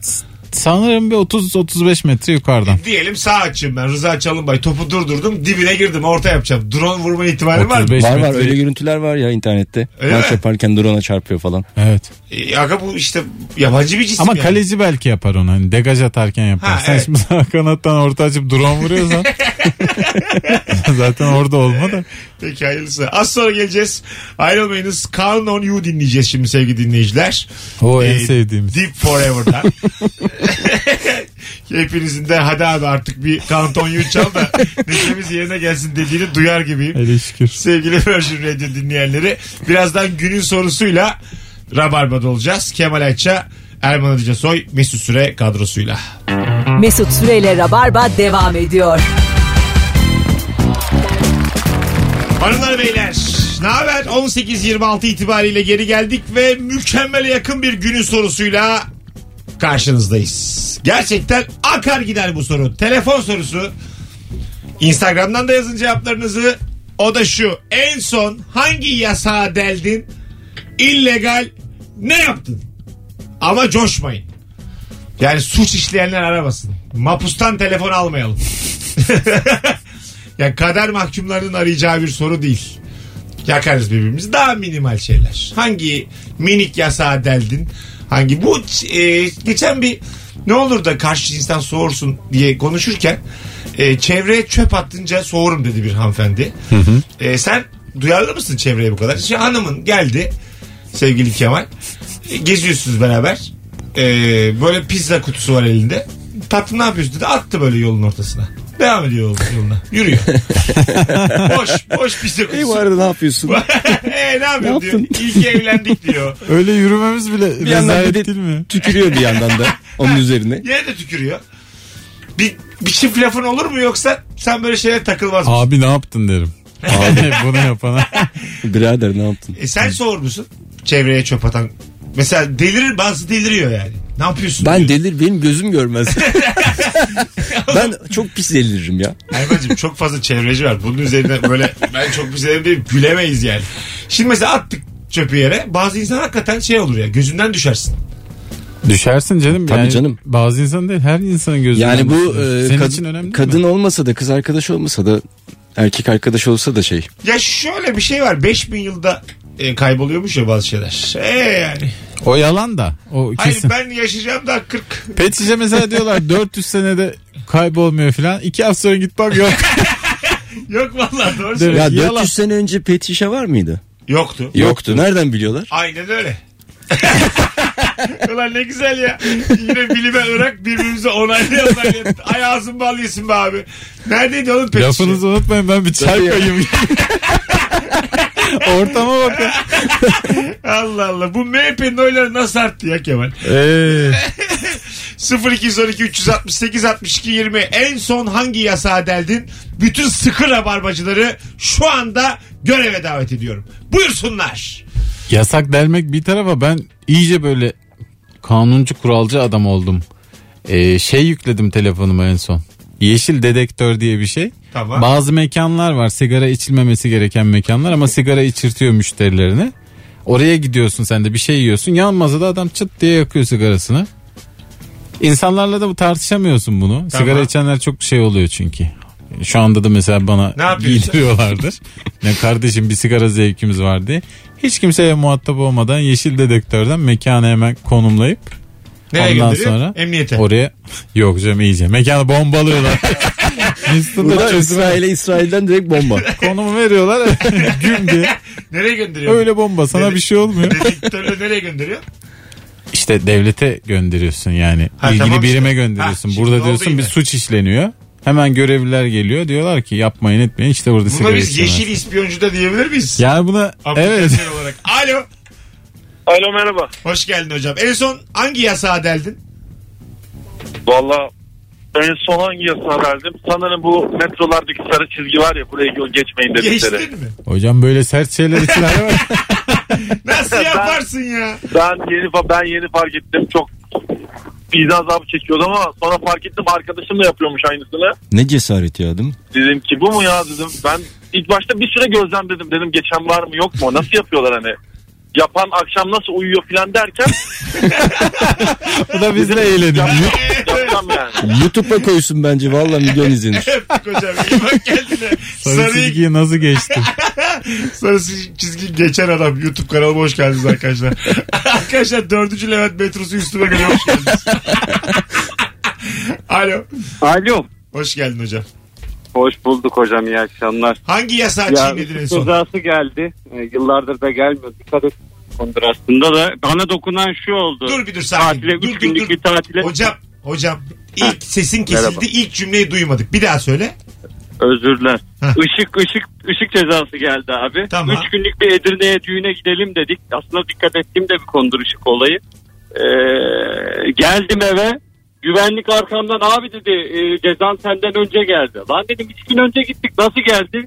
Speaker 4: Sanırım bir 30-35 metre yukarıdan.
Speaker 2: Diyelim sağ açayım ben. Rıza Çalınbay topu durdurdum. Dibine girdim. Orta yapacağım. Drone vurma ihtimalim var mı?
Speaker 4: 35
Speaker 3: Var var
Speaker 4: metre.
Speaker 3: öyle görüntüler var ya internette.
Speaker 2: Öyle
Speaker 3: Maç
Speaker 2: mi?
Speaker 3: yaparken drone'a çarpıyor falan.
Speaker 4: Evet.
Speaker 2: E, Aga bu işte yabancı bir cisim
Speaker 4: Ama
Speaker 2: yani.
Speaker 4: kaleci belki yapar onu. Hani degaj atarken yapar.
Speaker 2: Ha,
Speaker 4: Sen
Speaker 2: evet.
Speaker 4: şimdi sağ kanattan orta açıp drone vuruyorsan zaten orada olma da.
Speaker 2: Peki hayırlısı. Az sonra geleceğiz. Ayrılmayınız. Count on You dinleyeceğiz şimdi sevgili dinleyiciler.
Speaker 4: O en
Speaker 2: Ee,
Speaker 4: sevdiğimiz.
Speaker 2: Deep Forever'dan. Hepinizin de hadi abi artık bir Count on You çal da neşemiz yerine gelsin dediğini duyar gibiyim.
Speaker 4: Hele şükür.
Speaker 2: Sevgili Virgin Radio dinleyenleri birazdan günün sorusuyla Rabarba'da olacağız. Kemal Ayça, Erman Arıca Soy, Mesut Süre kadrosuyla.
Speaker 1: Mesut Süreyle Rabarba devam ediyor.
Speaker 2: Hanımlar beyler ne haber 18.26 itibariyle geri geldik ve mükemmele yakın bir günün sorusuyla karşınızdayız. Gerçekten akar gider bu soru. Telefon sorusu. Instagram'dan da yazın cevaplarınızı. O da şu. En son hangi yasağa deldin? İllegal ne yaptın? Ama coşmayın. Yani suç işleyenler aramasın. Mapustan telefon almayalım. Yani kader mahkumlarının arayacağı bir soru değil. Yakarız birbirimizi. Daha minimal şeyler. Hangi minik yasağa deldin? Hangi bu e, geçen bir ne olur da karşı insan soğursun diye konuşurken e, çevreye çöp attınca soğurum dedi bir hanımefendi. E, sen duyarlı mısın çevreye bu kadar? Şimdi hanımın geldi sevgili Kemal. E, geziyorsunuz beraber. E, böyle pizza kutusu var elinde. Tatlı ne yapıyorsun dedi. Attı böyle yolun ortasına. Devam ediyor yolun- yoluna. Yürüyor. boş, boş pizza
Speaker 3: Ey bu
Speaker 2: kutusu.
Speaker 3: arada ne yapıyorsun?
Speaker 2: e, ne
Speaker 3: Ne
Speaker 2: yapıyorsun
Speaker 3: yaptın?
Speaker 2: diyor. İlk evlendik diyor.
Speaker 4: Öyle yürümemiz bile
Speaker 3: bir yandan bir
Speaker 4: rezalet değil
Speaker 3: de
Speaker 4: mi?
Speaker 3: tükürüyor bir yandan da onun üzerine.
Speaker 2: Yine de tükürüyor. Bir, bir çift lafın olur mu yoksa sen böyle şeylere takılmaz mısın?
Speaker 4: Abi ne yaptın derim. Abi bunu yapana.
Speaker 3: Birader ne yaptın?
Speaker 2: E, sen soğur musun? Çevreye çöp atan. Mesela delirir bazı deliriyor yani. Ne yapıyorsun?
Speaker 3: Ben
Speaker 2: diyor.
Speaker 3: delir benim gözüm görmez. ben çok pis deliririm ya.
Speaker 2: Erman'cığım çok fazla çevreci var. Bunun üzerine böyle ben çok güzelim deyip gülemeyiz yani. Şimdi mesela attık çöpü yere. Bazı insan hakikaten şey olur ya gözünden düşersin.
Speaker 4: Düşersin canım.
Speaker 3: Tabii
Speaker 4: yani
Speaker 3: canım.
Speaker 4: Bazı insan değil her insanın gözünden.
Speaker 3: Yani bu
Speaker 4: düşer.
Speaker 3: e,
Speaker 4: Senin
Speaker 3: kad-
Speaker 4: için önemli değil
Speaker 3: kadın
Speaker 4: mi?
Speaker 3: olmasa da kız arkadaş olmasa da erkek arkadaş olsa da şey.
Speaker 2: Ya şöyle bir şey var. 5000 yılda e, kayboluyormuş ya bazı şeyler. E yani.
Speaker 4: O yalan da. O
Speaker 2: Hayır
Speaker 4: kesin.
Speaker 2: ben yaşayacağım da 40.
Speaker 4: Pet şişe mesela diyorlar 400 senede kaybolmuyor falan. 2 hafta sonra git bak yok.
Speaker 2: Yok vallahi doğru
Speaker 4: Değil mi?
Speaker 2: söylüyorsun.
Speaker 3: Ya
Speaker 4: Yalan.
Speaker 3: 400 sene önce pet şişe var mıydı?
Speaker 2: Yoktu.
Speaker 3: Yoktu. Nereden biliyorlar?
Speaker 2: Aynen öyle. Ulan ne güzel ya. Yine bilime ırak birbirimize onaylı onaylı. Ay ağzın bal yesin be abi. Neredeydi oğlum peki?
Speaker 4: Lafınızı unutmayın ben bir çay
Speaker 3: Tabii ya.
Speaker 4: koyayım. Ortama bakın.
Speaker 2: Allah Allah. Bu MHP'nin oyları nasıl arttı ya Kemal?
Speaker 4: Ee,
Speaker 2: 0212 368 62 20 en son hangi yasağa deldin? Bütün sıkı rabarbacıları şu anda göreve davet ediyorum. Buyursunlar.
Speaker 4: yasak delmek bir tarafa ben iyice böyle kanuncu kuralcı adam oldum. Ee, şey yükledim telefonuma en son. Yeşil dedektör diye bir şey.
Speaker 2: Tamam.
Speaker 4: Bazı mekanlar var sigara içilmemesi gereken mekanlar ama sigara içirtiyor müşterilerine. Oraya gidiyorsun sen de bir şey yiyorsun. Yan masada adam çıt diye yakıyor sigarasını. İnsanlarla da bu tartışamıyorsun bunu. Sigara içenler çok şey oluyor çünkü. Şu anda da mesela bana
Speaker 2: Ne yapıyorsun?
Speaker 4: giydiriyorlardır. ne kardeşim bir sigara zevkimiz var diye. Hiç kimseye muhatap olmadan yeşil dedektörden mekanı hemen konumlayıp
Speaker 2: Nereye
Speaker 4: ondan
Speaker 2: gönderiyor?
Speaker 4: sonra
Speaker 2: Emniyete.
Speaker 4: oraya yok canım iyice mekanı bombalıyorlar. Houston'da
Speaker 3: Burada
Speaker 4: çözüm-
Speaker 3: İsrail'e İsrail'den direkt bomba.
Speaker 4: Konumu veriyorlar güm diye.
Speaker 2: Nereye gönderiyor?
Speaker 4: Öyle bomba sana bir şey olmuyor.
Speaker 2: Dedektörle nereye gönderiyor?
Speaker 4: İşte devlete gönderiyorsun yani.
Speaker 2: Ha,
Speaker 4: ilgili
Speaker 2: tamam işte.
Speaker 4: birime
Speaker 2: Ha,
Speaker 4: gönderiyorsun.
Speaker 2: şimdi
Speaker 4: Burada
Speaker 2: oldu
Speaker 4: diyorsun
Speaker 2: yine.
Speaker 4: bir suç işleniyor. Hemen görevliler geliyor diyorlar ki yapmayın etmeyin işte burada
Speaker 2: Buna
Speaker 4: sigara
Speaker 2: biz
Speaker 4: içiyorlar.
Speaker 2: yeşil ispiyoncu da diyebilir miyiz?
Speaker 4: Yani buna evet.
Speaker 2: Aplikasyon olarak. Alo.
Speaker 6: Alo merhaba.
Speaker 2: Hoş geldin hocam. En son hangi yasağa deldin?
Speaker 6: Valla
Speaker 7: en son hangi yasağı verdim? Sanırım bu metrolardaki sarı çizgi var ya buraya yol geçmeyin dedikleri.
Speaker 2: Geçtin mi?
Speaker 4: Hocam böyle sert şeyler için arama.
Speaker 2: Nasıl yaparsın ya?
Speaker 7: Ben yeni fa- ben yeni fark ettim. Çok vicdan azabı çekiyordu ama sonra fark ettim arkadaşım da yapıyormuş aynısını.
Speaker 3: Ne cesaret ya değil mi?
Speaker 7: Dedim ki bu mu ya dedim. Ben ilk başta bir süre gözlemledim. Dedim geçen var mı yok mu? Nasıl yapıyorlar hani? Yapan akşam nasıl uyuyor filan derken
Speaker 4: Bu da bizle eğledim.
Speaker 7: yapacağım yani.
Speaker 3: YouTube'a koysun bence valla milyon izlenir.
Speaker 2: Öptük hocam. İyi bak kendine.
Speaker 4: Sarı
Speaker 2: Sarıyı
Speaker 4: çizgiyi nasıl geçtim?
Speaker 2: Sarısı çizgi geçen adam. YouTube kanalıma hoş geldiniz arkadaşlar. arkadaşlar 4. Levent metrosu üstüme göre hoş geldiniz. Alo.
Speaker 6: Alo.
Speaker 2: Hoş geldin hocam.
Speaker 6: Hoş bulduk hocam iyi akşamlar.
Speaker 2: Hangi yasağı
Speaker 6: Ya
Speaker 2: çiğnedin en son?
Speaker 6: cezası geldi. Ee, yıllardır da gelmiyor. Dikkat et. Konudur aslında da bana dokunan şu oldu.
Speaker 2: Dur bir dur sakin.
Speaker 6: Tatile,
Speaker 2: Dur
Speaker 6: üç
Speaker 2: dur
Speaker 6: günlük
Speaker 2: dur.
Speaker 6: bir tatile.
Speaker 2: Hocam hocam ilk sesin kesildi.
Speaker 6: merhaba.
Speaker 2: İlk cümleyi duymadık. Bir daha söyle.
Speaker 6: Özürler.
Speaker 2: Heh.
Speaker 6: Işık ışık ışık cezası geldi abi.
Speaker 2: Tamam.
Speaker 6: Üç günlük bir Edirne'ye düğüne gidelim dedik. Aslında dikkat ettiğim de bir konudur ışık olayı. Ee, geldim eve. Güvenlik arkamdan abi dedi e, cezan senden önce geldi. Lan dedim üç gün önce gittik nasıl geldi?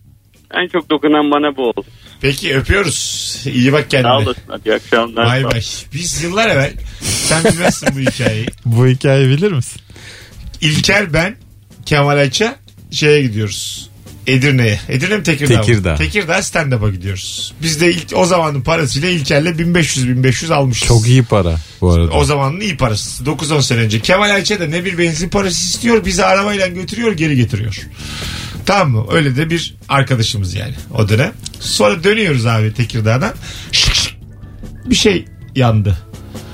Speaker 6: En çok dokunan bana bu oldu.
Speaker 2: Peki öpüyoruz. İyi bak
Speaker 6: Sağ
Speaker 2: kendine.
Speaker 6: olasın hadi iyi akşamlar.
Speaker 2: Bay
Speaker 6: Sağ ol.
Speaker 2: bay. Biz yıllar evvel sen bilmezsin bu hikayeyi.
Speaker 4: Bu hikayeyi bilir misin?
Speaker 2: İlker ben Kemal Ayça şeye gidiyoruz. Edirne'ye. Edirne mi Tekirdağ? mı?
Speaker 4: Tekirdağ.
Speaker 2: Tekirdağ stand-up'a gidiyoruz. Biz de ilk, o zamanın parasıyla İlker'le 1500-1500 almışız.
Speaker 4: Çok iyi para bu arada.
Speaker 2: O zamanın iyi parası. 9-10 sene önce. Kemal Ayça da ne bir benzin parası istiyor. Bizi arabayla götürüyor geri getiriyor. Tamam mı? Öyle de bir arkadaşımız yani o dönem. Sonra dönüyoruz abi Tekirdağ'dan. Şık şık. Bir şey yandı.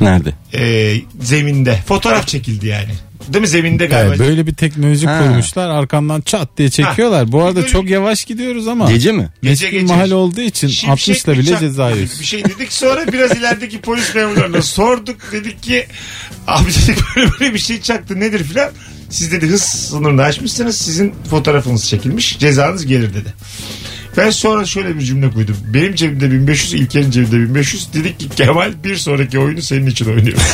Speaker 3: Nerede?
Speaker 2: Ee, zeminde. Fotoğraf çekildi yani. Değil mi? Zeminde
Speaker 4: Yani
Speaker 2: galiba.
Speaker 4: böyle bir teknoloji
Speaker 3: Ha.
Speaker 4: kurmuşlar arkandan çat diye çekiyorlar. Bu arada çok yavaş gidiyoruz ama
Speaker 3: Gece mi?
Speaker 2: Gece
Speaker 4: eski
Speaker 2: gece.
Speaker 4: mahal olduğu için
Speaker 2: Şimşek
Speaker 4: 60'la bile
Speaker 2: bıçak
Speaker 4: ceza
Speaker 2: gibi
Speaker 4: yiyorsun.
Speaker 2: Bir şey dedik sonra biraz ilerideki polis memurlarına sorduk. Dedik ki abi dedik böyle böyle bir şey çaktı nedir filan. Siz dedi hız sınırını aşmışsınız sizin fotoğrafınız çekilmiş cezanız gelir dedi. Ben sonra şöyle bir cümle koydum. Benim cebimde 1500 İlker'in cebinde 1500 dedik ki Kemal bir sonraki oyunu senin için oynuyoruz.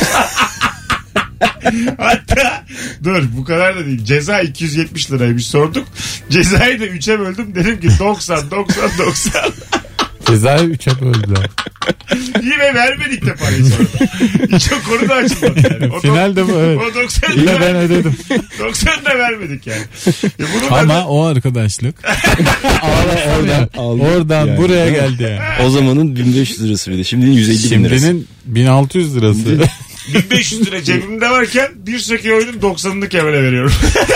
Speaker 2: Hatta dur bu kadar da değil. Ceza 270 liraymış sorduk. Cezayı da 3'e böldüm. Dedim ki 90 90 90.
Speaker 4: Cezayı 3'e böldüler.
Speaker 2: Yine vermedik de parayı sonra. Hiç o konu da açılmadı yani. O,
Speaker 4: Final de bu evet.
Speaker 2: o 90 da,
Speaker 4: Yine ben ödedim.
Speaker 2: 90 da vermedik yani. Ya bunu
Speaker 4: Ama o arkadaşlık
Speaker 3: Oradan aldım.
Speaker 4: oradan
Speaker 3: Yani.
Speaker 4: buraya geldi yani.
Speaker 3: O zamanın 1500 lirası bir de. Şimdinin 150 bin lirası.
Speaker 4: Şimdinin 1600 lirası.
Speaker 2: 1500 lira cebimde varken bir sonraki oyunun 90'ını Kemal'e veriyorum.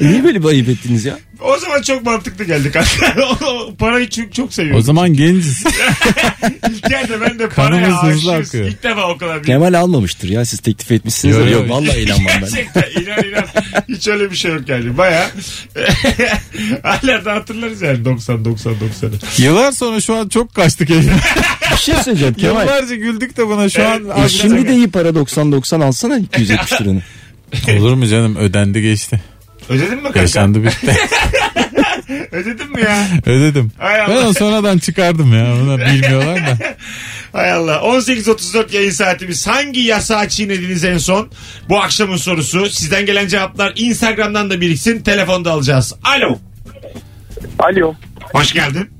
Speaker 3: Niye böyle bir ayıp ettiniz ya?
Speaker 2: o zaman çok mantıklı geldi kanka. O- o parayı çünkü çok
Speaker 4: o
Speaker 2: seviyorum.
Speaker 4: zaman genciz.
Speaker 2: İlker de ben de
Speaker 4: Kanımız
Speaker 2: paraya
Speaker 4: hızlı
Speaker 2: aşığız.
Speaker 4: akıyor.
Speaker 2: İlk defa o kadar bir...
Speaker 3: Kemal almamıştır ya siz teklif etmişsiniz.
Speaker 4: Yo,
Speaker 3: Yok,
Speaker 4: yo.
Speaker 3: yok vallahi inanmam ben.
Speaker 2: Gerçekten inan inan. Hiç öyle bir şey yok yani. Baya hala da hatırlarız yani 90 90 90'ı.
Speaker 4: Yıllar sonra şu an çok kaçtık evden.
Speaker 3: Bir şey söyleyeceğim Kemal.
Speaker 4: Yıllarca güldük de buna şu an.
Speaker 3: E şimdi de iyi para 90-90 alsana 270 liranı.
Speaker 4: Olur mu canım ödendi geçti.
Speaker 2: Ödedin mi kanka?
Speaker 4: Yaşandı bitti.
Speaker 2: Ödedin mi ya?
Speaker 4: Ödedim.
Speaker 2: Hay Allah.
Speaker 4: Ben onu sonradan çıkardım ya. Bunlar bilmiyorlar da.
Speaker 2: Hay Allah. 18.34 yayın saatimiz. Hangi yasağı çiğnediniz en son? Bu akşamın sorusu. Sizden gelen cevaplar Instagram'dan da biriksin. Telefonda alacağız. Alo.
Speaker 7: Alo.
Speaker 2: Hoş geldin.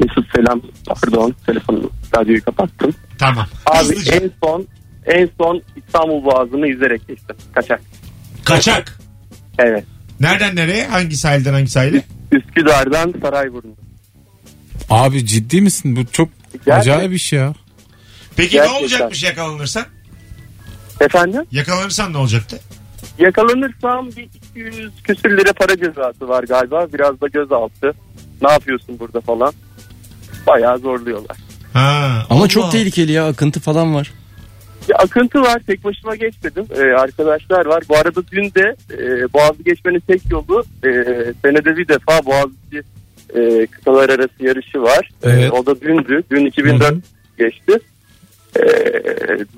Speaker 7: Mesut selam. Pardon telefonu radyoyu kapattım.
Speaker 2: Tamam.
Speaker 7: Abi
Speaker 2: Hızlıca.
Speaker 7: en son en son İstanbul Boğazı'nı izlerek geçtim. Kaçak.
Speaker 2: Kaçak.
Speaker 7: Evet.
Speaker 2: Nereden nereye? Hangi sahilden hangi sahile?
Speaker 7: Üsküdar'dan Sarayburnu.
Speaker 4: Abi ciddi misin? Bu çok
Speaker 7: Gerçek-
Speaker 4: acayip iş ya.
Speaker 2: Peki ne
Speaker 7: Gerçekten.
Speaker 2: olacakmış yakalanırsan?
Speaker 7: Efendim?
Speaker 2: Yakalanırsan ne olacaktı?
Speaker 7: Yakalanırsam bir 200 küsür lira para cezası var galiba. Biraz da gözaltı. Ne yapıyorsun burada falan. Bayağı zorluyorlar.
Speaker 2: Ha,
Speaker 3: Ama
Speaker 2: Allah.
Speaker 3: çok tehlikeli ya akıntı falan var.
Speaker 7: Bir akıntı var. Tek başıma geçmedim. Ee, arkadaşlar var. Bu arada dün de e, Boğaz'ı geçmenin tek yolu e, senede bir defa Boğaz'ı e, kıtalar arası yarışı var.
Speaker 4: Evet.
Speaker 7: E, o da dündü. Dün 2004
Speaker 4: Hı hı.
Speaker 7: geçti. E,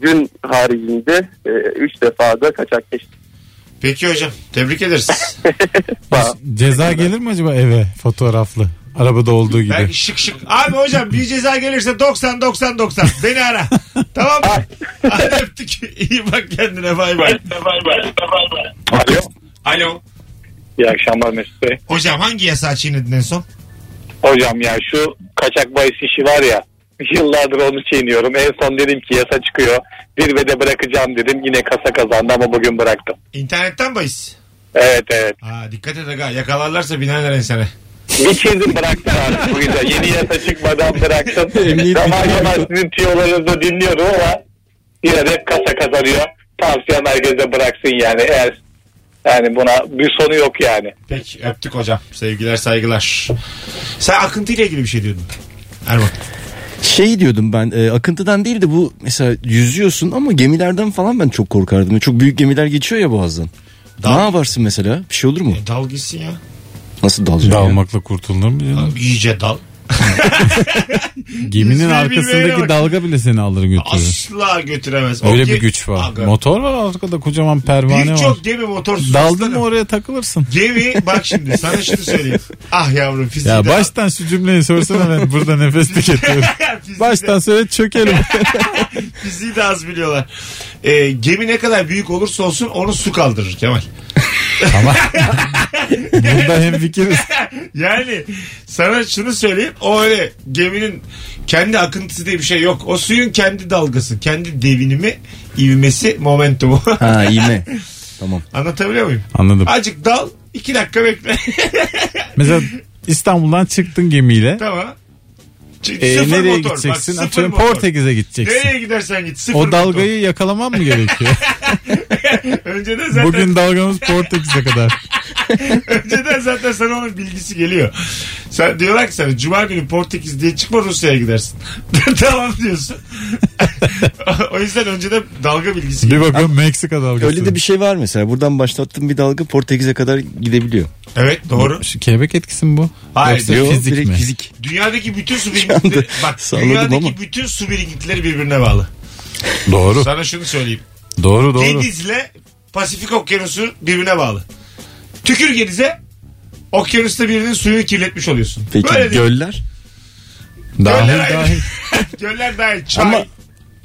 Speaker 7: dün haricinde 3 defa da kaçak geçti.
Speaker 2: Peki hocam. Tebrik ederiz.
Speaker 4: Ceza gelir mi acaba eve fotoğraflı? Arabada olduğu gibi.
Speaker 2: Ben şık şık. Abi hocam bir ceza gelirse 90 90 90 beni ara. tamam mı? Hadi öptük. İyi bak kendine bay bay.
Speaker 8: Alo.
Speaker 2: Alo.
Speaker 8: İyi akşamlar Mesut Bey.
Speaker 2: Hocam hangi yasağı çiğnedin en son?
Speaker 8: Hocam ya şu kaçak bahis işi var ya yıllardır onu çiğniyorum. En son dedim ki yasa çıkıyor. Zirvede bırakacağım dedim. Yine kasa kazandı ama bugün bıraktım.
Speaker 2: İnternetten bahis.
Speaker 8: Evet evet.
Speaker 2: Ha, dikkat et aga yakalarlarsa binerler ensene.
Speaker 8: Bir çizim bıraktım artık bugün de. Yeni yasa çıkmadan bıraktım.
Speaker 4: Emniyet
Speaker 8: zaman
Speaker 4: müdürü
Speaker 8: zaman
Speaker 4: yok.
Speaker 8: sizin tüyolarınızı dinliyorum ama yine de kasa kazanıyor. Tavsiyem herkese bıraksın yani. Eğer yani buna bir sonu yok yani.
Speaker 2: Peki öptük hocam. Sevgiler saygılar. Sen akıntıyla ilgili bir şey diyordun. Erman.
Speaker 3: Şey diyordum ben e, akıntıdan değil de bu mesela yüzüyorsun ama gemilerden falan ben çok korkardım. Çok büyük gemiler geçiyor ya boğazdan. Ne yaparsın mesela? Bir şey olur mu?
Speaker 2: E, dal gitsin ya.
Speaker 3: Nasıl
Speaker 2: şey
Speaker 3: dalacaksın? ya?
Speaker 4: Dalmakla kurtulur mu? canım?
Speaker 2: Abi, iyice dal. Yüzme
Speaker 4: Geminin
Speaker 2: bilmeyene
Speaker 4: arkasındaki
Speaker 2: bak.
Speaker 4: dalga bile seni alır götürür.
Speaker 2: Asla götüremez. O
Speaker 4: Öyle
Speaker 2: ge-
Speaker 4: bir güç var.
Speaker 2: Aga.
Speaker 4: Motor var arkada kocaman pervane var.
Speaker 2: Birçok gemi motorsuz.
Speaker 4: Daldın
Speaker 2: aslanım.
Speaker 4: mı oraya takılırsın.
Speaker 2: Gemi bak şimdi sana şunu söyleyeyim. Ah yavrum fiziği
Speaker 4: Ya
Speaker 2: de-
Speaker 4: baştan şu cümleyi sorsana ben burada nefes tüketiyorum.
Speaker 2: fiziği de-
Speaker 4: Baştan söyle çökelim.
Speaker 2: Fiziği de az biliyorlar. Ee, gemi ne kadar büyük olursa olsun onu su kaldırır Kemal.
Speaker 4: Burada hem fikiriz.
Speaker 2: Yani sana şunu söyleyeyim. O öyle geminin kendi akıntısı diye bir şey yok. O suyun kendi dalgası, kendi devinimi, ivmesi, momentumu.
Speaker 3: Ha iğme. tamam.
Speaker 2: Anlatabiliyor muyum?
Speaker 4: Anladım.
Speaker 2: Azıcık dal, iki dakika bekle.
Speaker 4: Mesela İstanbul'dan çıktın gemiyle.
Speaker 2: tamam. Çünkü
Speaker 4: Ee,
Speaker 2: sıfır
Speaker 4: nereye
Speaker 2: motor.
Speaker 4: gideceksin?
Speaker 2: Bak, sıfır
Speaker 4: Atıyorum
Speaker 2: motor.
Speaker 4: Portekiz'e gideceksin.
Speaker 2: Nereye gidersen git sıfır
Speaker 4: O dalgayı yakalaman mı gerekiyor?
Speaker 2: motor. Önceden zaten
Speaker 4: Bugün dalgamız Portekiz'e kadar.
Speaker 2: Önceden zaten sana onun bilgisi geliyor. Sen diyorlar ki sana cuma günü Portekiz diye çıkma Rusya'ya gidersin. tamam diyorsun. o yüzden önceden dalga bilgisi
Speaker 4: Bir
Speaker 2: geliyor.
Speaker 4: bakın Meksika dalgası.
Speaker 3: Öyle de bir şey var mesela. Buradan başlattığım bir dalga Portekiz'e kadar gidebiliyor.
Speaker 2: Evet doğru.
Speaker 4: Şu kelebek etkisi mi bu?
Speaker 2: Hayır,
Speaker 4: Yoksa
Speaker 2: yok,
Speaker 4: fizik
Speaker 3: direkt
Speaker 4: mi?
Speaker 3: fizik.
Speaker 2: Dünyadaki bütün su
Speaker 3: Şu
Speaker 2: birikintileri
Speaker 3: anda
Speaker 2: bak
Speaker 3: salladım
Speaker 2: dünyadaki
Speaker 3: ama.
Speaker 2: bütün su birikintileri birbirine bağlı.
Speaker 4: Doğru.
Speaker 2: Sana şunu söyleyeyim.
Speaker 4: Doğru doğru.
Speaker 2: Denizle Pasifik Okyanusu birbirine bağlı. Tükür genize okyanusta birinin suyunu kirletmiş oluyorsun.
Speaker 3: Peki
Speaker 2: Böyle değil.
Speaker 3: göller?
Speaker 4: Dahil
Speaker 2: Göller ayrı.
Speaker 4: dahil.
Speaker 2: Göller dahil. Çay.
Speaker 3: Ama-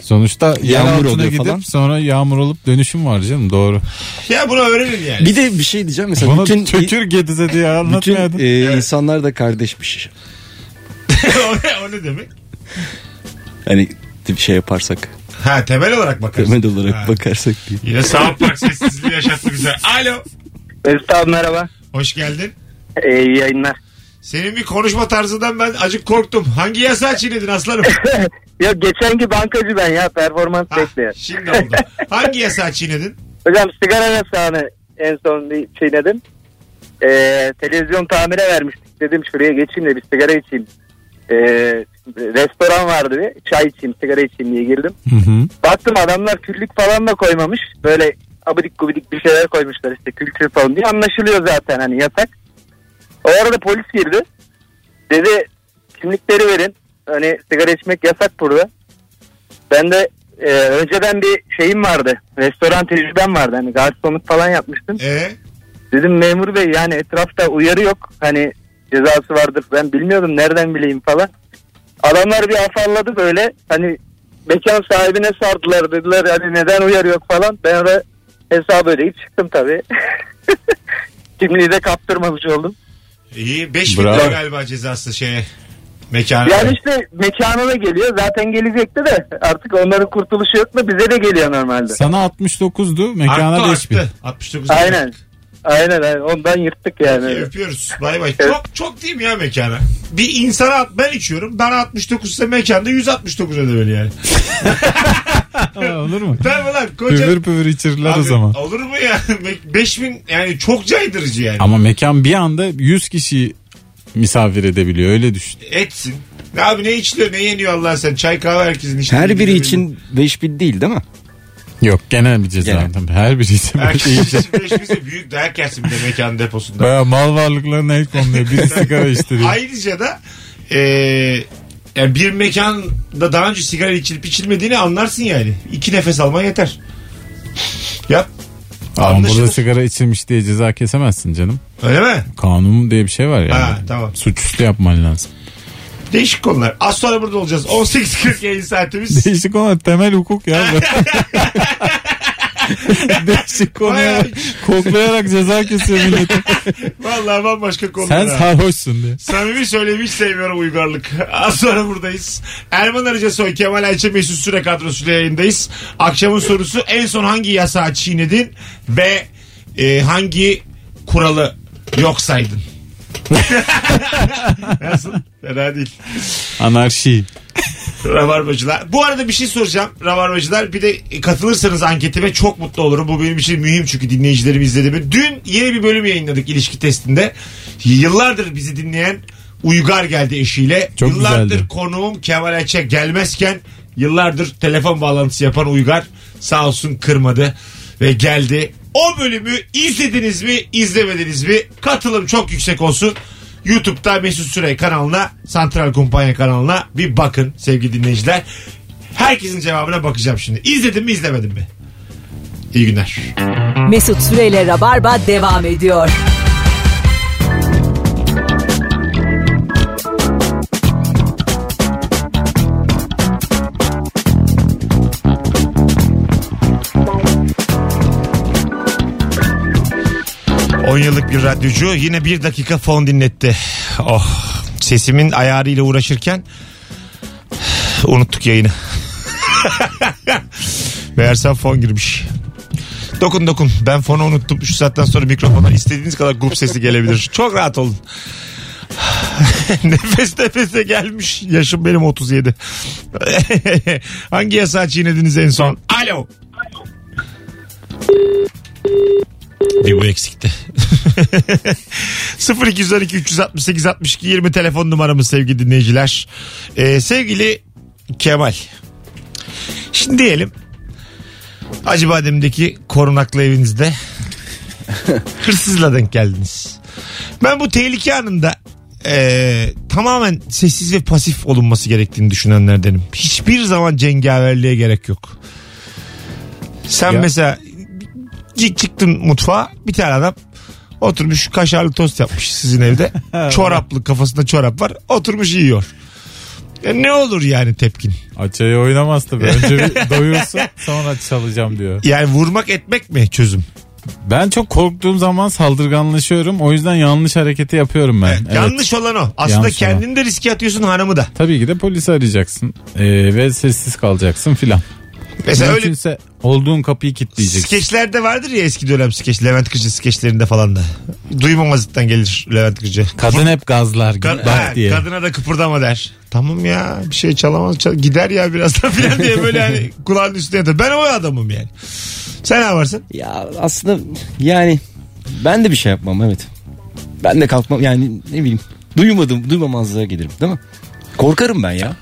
Speaker 4: Sonuçta
Speaker 3: Yağmur
Speaker 4: yağmur altına
Speaker 3: oluyor
Speaker 4: gidip
Speaker 3: falan.
Speaker 4: sonra yağmur olup dönüşüm var canım doğru.
Speaker 2: Ya bunu öğrenin yani.
Speaker 3: Bir de bir şey diyeceğim mesela
Speaker 4: Bana
Speaker 3: bütün
Speaker 4: çökür gedize diye
Speaker 3: bütün
Speaker 4: anlatmayaydın.
Speaker 3: e, insanlar da şey. kardeşmiş.
Speaker 2: o, ne, o ne demek?
Speaker 3: Hani bir şey yaparsak,
Speaker 2: Ha temel olarak bakarsın.
Speaker 3: temel olarak
Speaker 2: Ha.
Speaker 3: bakarsak diye.
Speaker 2: Yine South Park sessizliği yaşattı bize. Alo.
Speaker 7: Mesut abi merhaba.
Speaker 2: Hoş geldin.
Speaker 7: İyi yayınlar.
Speaker 2: Senin bir konuşma tarzından ben acık korktum. Hangi yasağı çiğnedin aslanım?
Speaker 7: Ya geçenki bankacı ben ya performans
Speaker 2: Ha, şimdi oldu. Hangi yasağı çiğnedin?
Speaker 7: Hocam sigara yasağını en son bir çiğnedim. Ee, televizyon tamire vermiştik. Dedim şuraya geçeyim de bir sigara içeyim. Ee, restoran vardı bir. Çay içeyim, sigara içeyim diye girdim.
Speaker 4: Hı hı.
Speaker 7: Baktım adamlar küllük falan da koymamış. Böyle abidik gubidik bir şeyler koymuşlar işte kültür falan diye. Anlaşılıyor zaten hani yasak. O arada polis girdi. Dedi kimlikleri verin. Hani sigara içmek yasak burada. Ben de e, önceden bir şeyim vardı. Restoran tecrübem vardı. Hani garsonluk falan yapmıştım.
Speaker 2: Ee,
Speaker 7: Dedim memur bey yani etrafta uyarı yok. Hani cezası vardır ben bilmiyordum nereden bileyim falan. Adamlar bir afalladı böyle hani mekan sahibine sardılar dediler hani neden uyarı yok falan. Ben de hesabı ödeyip çıktım tabii. Kimliği de kaptırmamış oldum.
Speaker 2: iyi. 5 bin lira
Speaker 4: Bravo.
Speaker 2: galiba cezası şeye. Mekana.
Speaker 7: Yani işte mekana da geliyor zaten gelecekti de artık onların kurtuluşu yok mu bize de geliyor normalde.
Speaker 4: Sana 69'du mekana
Speaker 2: arttı
Speaker 4: 5000.
Speaker 2: arttı. 69 lira.
Speaker 7: Aynen. Aynen aynen. ondan yırttık
Speaker 2: Peki,
Speaker 7: yani.
Speaker 2: Öpüyoruz. Bay bay. Çok çok değil mi ya mekana? Bir insana at, ben içiyorum. Ben 69 ise mekanda 169 ödemeli yani.
Speaker 4: Aa, Olur mu?
Speaker 2: Tabii lan koca
Speaker 4: Püvür püvür içirirler o
Speaker 2: Abi,
Speaker 4: zaman.
Speaker 2: Olur mu ya? 5000 yani çok caydırıcı yani.
Speaker 4: Ama mekan bir anda 100 kişi misafir edebiliyor öyle düşün.
Speaker 2: Etsin. Ne Abi ne içiliyor ne yeniyor Allah sen. Çay kahve herkesin içtiği.
Speaker 3: Her biri
Speaker 2: gibi.
Speaker 3: için 5000 değil değil mi?
Speaker 4: Yok genel bir ceza.
Speaker 3: Genel.
Speaker 4: Tabii Her biri için şey böyle
Speaker 2: Herkes
Speaker 4: iyice.
Speaker 2: için beş bize büyük dayak yersin bir de mekan deposunda.
Speaker 4: Baya mal varlıklarına el konuluyor. Biri sigara içtiriyor.
Speaker 2: Ayrıca da e, yani bir mekanda daha önce sigara içilip içilmediğini anlarsın yani. İki nefes alman yeter. Yap.
Speaker 4: Ama
Speaker 2: Anlaşılır.
Speaker 4: burada sigara içilmiş diye ceza kesemezsin canım.
Speaker 2: Öyle mi?
Speaker 4: Kanun diye bir şey var yani.
Speaker 2: Ha, tamam.
Speaker 4: Suçüstü yapman lazım.
Speaker 2: Değişik konular. Az sonra burada olacağız. 18.40 yayın saatimiz.
Speaker 4: Değişik konu temel hukuk ya. Değişik
Speaker 2: Bayağı
Speaker 4: konuya koklayarak ceza kesiyor millet.
Speaker 2: Vallahi bambaşka konular.
Speaker 4: Sen
Speaker 2: ha.
Speaker 4: sarhoşsun diye.
Speaker 2: Samimi söyleyeyim hiç sevmiyorum uygarlık. Az sonra buradayız. Erman Arıca Soy, Kemal Ayça Mesut Süre kadrosuyla yayındayız. Akşamın sorusu en son hangi yasağı çiğnedin ve e, hangi kuralı yok saydın? Nasıl? Fena değil.
Speaker 4: Anarşi.
Speaker 2: Rabarbacılar. Bu arada bir şey soracağım Rabarbacılar. Bir de katılırsanız anketime çok mutlu olurum. Bu benim için mühim çünkü dinleyicilerim izledi mi? Dün yeni bir bölüm yayınladık ilişki testinde. Yıllardır bizi dinleyen Uygar geldi eşiyle.
Speaker 4: Çok
Speaker 2: yıllardır
Speaker 4: güzeldi.
Speaker 2: konuğum Kemal Ayça gelmezken yıllardır telefon bağlantısı yapan Uygar sağ olsun kırmadı ve geldi. O bölümü izlediniz mi izlemediniz mi katılım çok yüksek olsun. YouTube'da Mesut Süre kanalına, Santral Kumpanya kanalına bir bakın sevgili dinleyiciler. Herkesin cevabına bakacağım şimdi. İzledim mi izlemedim mi? İyi günler.
Speaker 1: Mesut Süreyle Rabarba devam ediyor.
Speaker 2: On yıllık bir radyocu yine bir dakika fon dinletti. Oh sesimin ayarıyla uğraşırken unuttuk yayını. Meğersem fon girmiş. Dokun dokun ben fonu unuttum. Şu saatten sonra mikrofona istediğiniz kadar grup sesi gelebilir. Çok rahat olun. nefes nefese gelmiş. Yaşım benim 37. Hangi yasağı çiğnediniz en son? Alo. Bir bu eksikti. 0212 368 62 20 telefon numaramız sevgili dinleyiciler. Ee, sevgili Kemal. Şimdi diyelim Acıbadem'deki korunaklı evinizde hırsızla denk geldiniz. Ben bu tehlike anında e, tamamen sessiz ve pasif olunması gerektiğini düşünenlerdenim. Hiçbir zaman cengaverliğe gerek yok. Sen
Speaker 4: Ya.
Speaker 2: mesela Çık- çıktın mutfağa bir tane adam oturmuş kaşarlı tost yapmış sizin evde. Çoraplı kafasında çorap var oturmuş yiyor. Ya ne olur yani tepkin?
Speaker 4: Açayı oynamaz tabii. Önce bir doyursun sonra çalacağım diyor.
Speaker 2: Yani vurmak etmek mi çözüm?
Speaker 4: Ben çok korktuğum zaman saldırganlaşıyorum. O yüzden yanlış hareketi yapıyorum ben. Evet.
Speaker 2: Yanlış olan o. Aslında
Speaker 4: Yanlış olan.
Speaker 2: kendini de riske atıyorsun hanımı da.
Speaker 4: Tabii ki de polisi arayacaksın. Ee, ve sessiz kalacaksın filan.
Speaker 2: Mesela öyle
Speaker 4: Mümkünse olduğun kapıyı kilitleyeceksin.
Speaker 2: skeçlerde vardır ya eski dönem skeç. Levent Kırcı skeçlerinde falan da. Duymamazlıktan gelir Levent Kırcı.
Speaker 4: Kadın hep gazlar git
Speaker 2: Kad-
Speaker 4: bak
Speaker 2: ha,
Speaker 4: diye.
Speaker 2: Kadına da kıpırdama der. Tamam ya bir şey çalamaz çal- gider ya birazdan filan diye böyle hani kulağın üstüne yatar. Ben o adamım yani. Sen ne varsın?
Speaker 3: Ya aslında yani ben de bir şey yapmam evet. Ben de kalkmam yani ne bileyim duymadım duymamazlığa gelirim değil mi? Korkarım ben ya.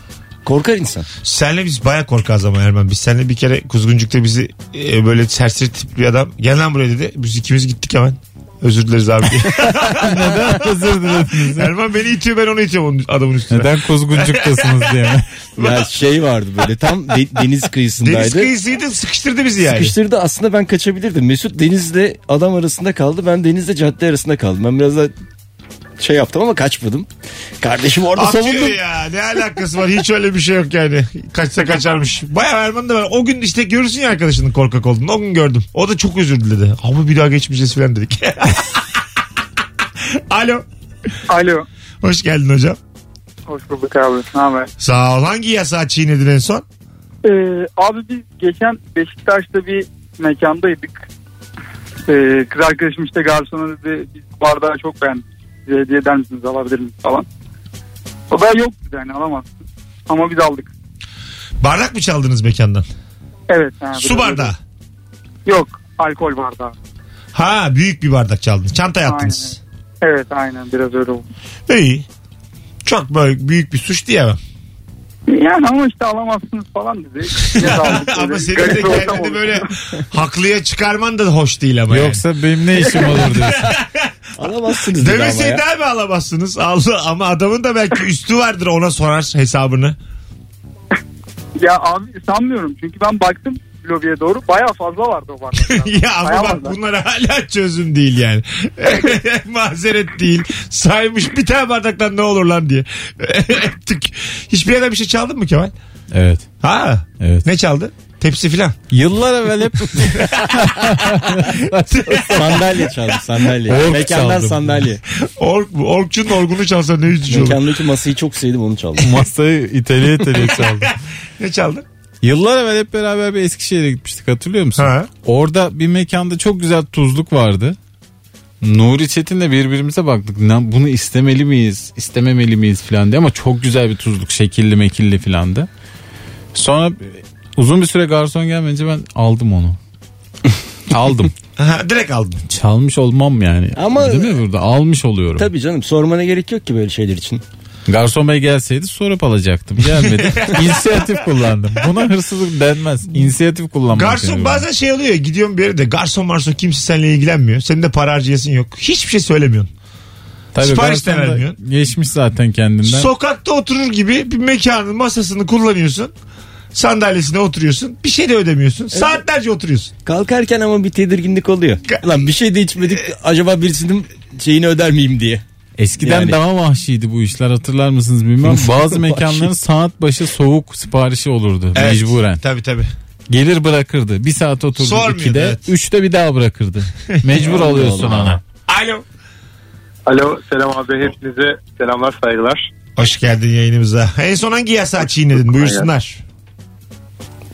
Speaker 3: Korkar insan.
Speaker 2: Senle biz baya korkarız ama Erman. Biz senle bir kere Kuzguncuk'ta bizi e, böyle serseri tipli bir adam gel lan buraya dedi. Biz ikimiz gittik hemen. Özür dileriz abi. diye.
Speaker 4: Özür dilerim.
Speaker 2: Erman beni itiyor ben onu itiyorum onun- adamın üstüne.
Speaker 4: Neden kuzguncuktasınız diye mi?
Speaker 3: Ya şey vardı böyle tam de- deniz kıyısındaydı.
Speaker 2: Deniz kıyısıydı sıkıştırdı bizi yani.
Speaker 3: Sıkıştırdı aslında ben kaçabilirdim. Mesut denizle adam arasında kaldı. Ben denizle cadde arasında kaldım. Ben biraz daha şey yaptım ama kaçmadım. Kardeşim orada savundum.
Speaker 2: Atıyor ya ne alakası var hiç öyle bir şey yok yani kaçsa kaçarmış baya Erman da ben o gün işte görürsün ya arkadaşının korkak olduğunu o gün gördüm o da çok özür diledi ama bir daha geçmeyeceğiz falan dedik alo
Speaker 8: Alo.
Speaker 2: hoş geldin hocam
Speaker 8: Hoş bulduk abi. Ne haber?
Speaker 2: sağ ol hangi yasağı çiğnedin en son
Speaker 8: Ee, abi biz geçen Beşiktaş'ta bir mekandaydık. Ee, kız arkadaşım işte garsona dedi biz bu bardağı çok beğendik. Bize hediye eder misiniz alabilir miyiz falan. O da yok dedi yani alamazsın. Ama biz aldık.
Speaker 2: bardak mı çaldınız mekandan
Speaker 8: Evet. ha,
Speaker 2: su
Speaker 8: böyle-
Speaker 2: bardağı
Speaker 8: Yok alkol bardağı.
Speaker 2: ha büyük bir bardak çaldınız çanta yaptınız
Speaker 8: Evet aynen biraz öyle oldu.
Speaker 2: iyi çok böyle büyük bir suç diyemem.
Speaker 8: Yani ama işte alamazsınız falan dedi. Yine de aldık.
Speaker 2: ama
Speaker 8: Böyle
Speaker 2: senin de
Speaker 8: garip bir ortam oldu.
Speaker 2: kendini böyle haklıya çıkarman da hoş değil ama yani.
Speaker 4: Yoksa benim ne işim olur diyorsun.
Speaker 3: Alamazsınız dedi ama
Speaker 2: Demeseydi
Speaker 3: ya.
Speaker 2: abi alamazsınız. Allah ama adamın da belki üstü vardır ona sorar hesabını.
Speaker 8: Ya abi sanmıyorum çünkü ben baktım lobiye doğru baya fazla vardı o bardaklar.
Speaker 2: ya ama bak
Speaker 8: Sayamazlar.
Speaker 2: bunlar hala çözüm değil yani. Mazeret değil. Saymış bir tane bardaktan ne olur lan diye. Öptük. Hiçbir yerden bir şey çaldın mı Kemal?
Speaker 4: Evet.
Speaker 2: Ha?
Speaker 4: Evet.
Speaker 2: Ne çaldı? Tepsi filan.
Speaker 4: Yıllar evvel hep
Speaker 3: sandalye çaldım sandalye.
Speaker 4: Ork
Speaker 3: Mekandan
Speaker 4: çaldım.
Speaker 3: sandalye.
Speaker 2: Ork, orkçunun orgunu çalsa ne üzücü olur.
Speaker 3: Mekandaki masayı çok sevdim onu çaldım.
Speaker 4: masayı iteliye iteliye çaldım.
Speaker 2: Ne çaldın?
Speaker 4: Yıllar evvel hep beraber bir Eskişehir'e gitmiştik hatırlıyor musun?
Speaker 2: Ha.
Speaker 4: Orada bir mekanda çok güzel tuzluk vardı. Nuri Çetin'le birbirimize baktık. Lan bunu istemeli miyiz, istememeli miyiz filan diye ama çok güzel bir tuzluk şekilli mekilli filandı. Sonra uzun bir süre garson gelmeyince ben aldım onu. aldım.
Speaker 2: Ha, direkt aldın.
Speaker 4: Çalmış olmam yani.
Speaker 3: Ama-
Speaker 4: Değil mi burada? Almış oluyorum.
Speaker 3: Tabii canım sormana gerek yok ki böyle şeyler için.
Speaker 4: Garson bey gelseydi sorup alacaktım. Gelmedi. İnisiyatif kullandım. Buna hırsızlık denmez. İnisiyatif kullanmak.
Speaker 2: Garson
Speaker 4: yani.
Speaker 2: bazen şey oluyor ya, gidiyorum bir yere de garson marson kimse seninle ilgilenmiyor. Senin de para harcayasın yok. Hiçbir şey söylemiyorsun.
Speaker 4: Tabii
Speaker 2: sipariş de
Speaker 4: garson da
Speaker 2: vermiyorsun.
Speaker 4: Geçmiş zaten kendinden.
Speaker 2: Sokakta oturur gibi bir mekanın masasını kullanıyorsun. Sandalyesine oturuyorsun. Bir şey de ödemiyorsun. Saatlerce oturuyorsun.
Speaker 3: Kalkarken ama bir tedirginlik oluyor.
Speaker 2: Ga-
Speaker 3: Lan bir şey de içmedik acaba birisinin şeyini öder miyim diye.
Speaker 4: Eskiden
Speaker 3: Yani-
Speaker 4: daha vahşiydi bu işler hatırlar mısınız bilmem. Bazı mekanların saat başı soğuk siparişi olurdu mecburen.
Speaker 2: Tabii tabii.
Speaker 4: Gelir bırakırdı. Bir saat oturdu
Speaker 2: Sormuyordu,
Speaker 4: ikide.
Speaker 2: evet.
Speaker 4: Üçte bir daha bırakırdı. Mecbur alıyorsun
Speaker 3: Allah.
Speaker 4: ana.
Speaker 2: Alo.
Speaker 6: Alo selam abi hepinize selamlar saygılar.
Speaker 2: Hoş geldin yayınımıza. En son hangi yasağı çiğnedin? Buyursunlar.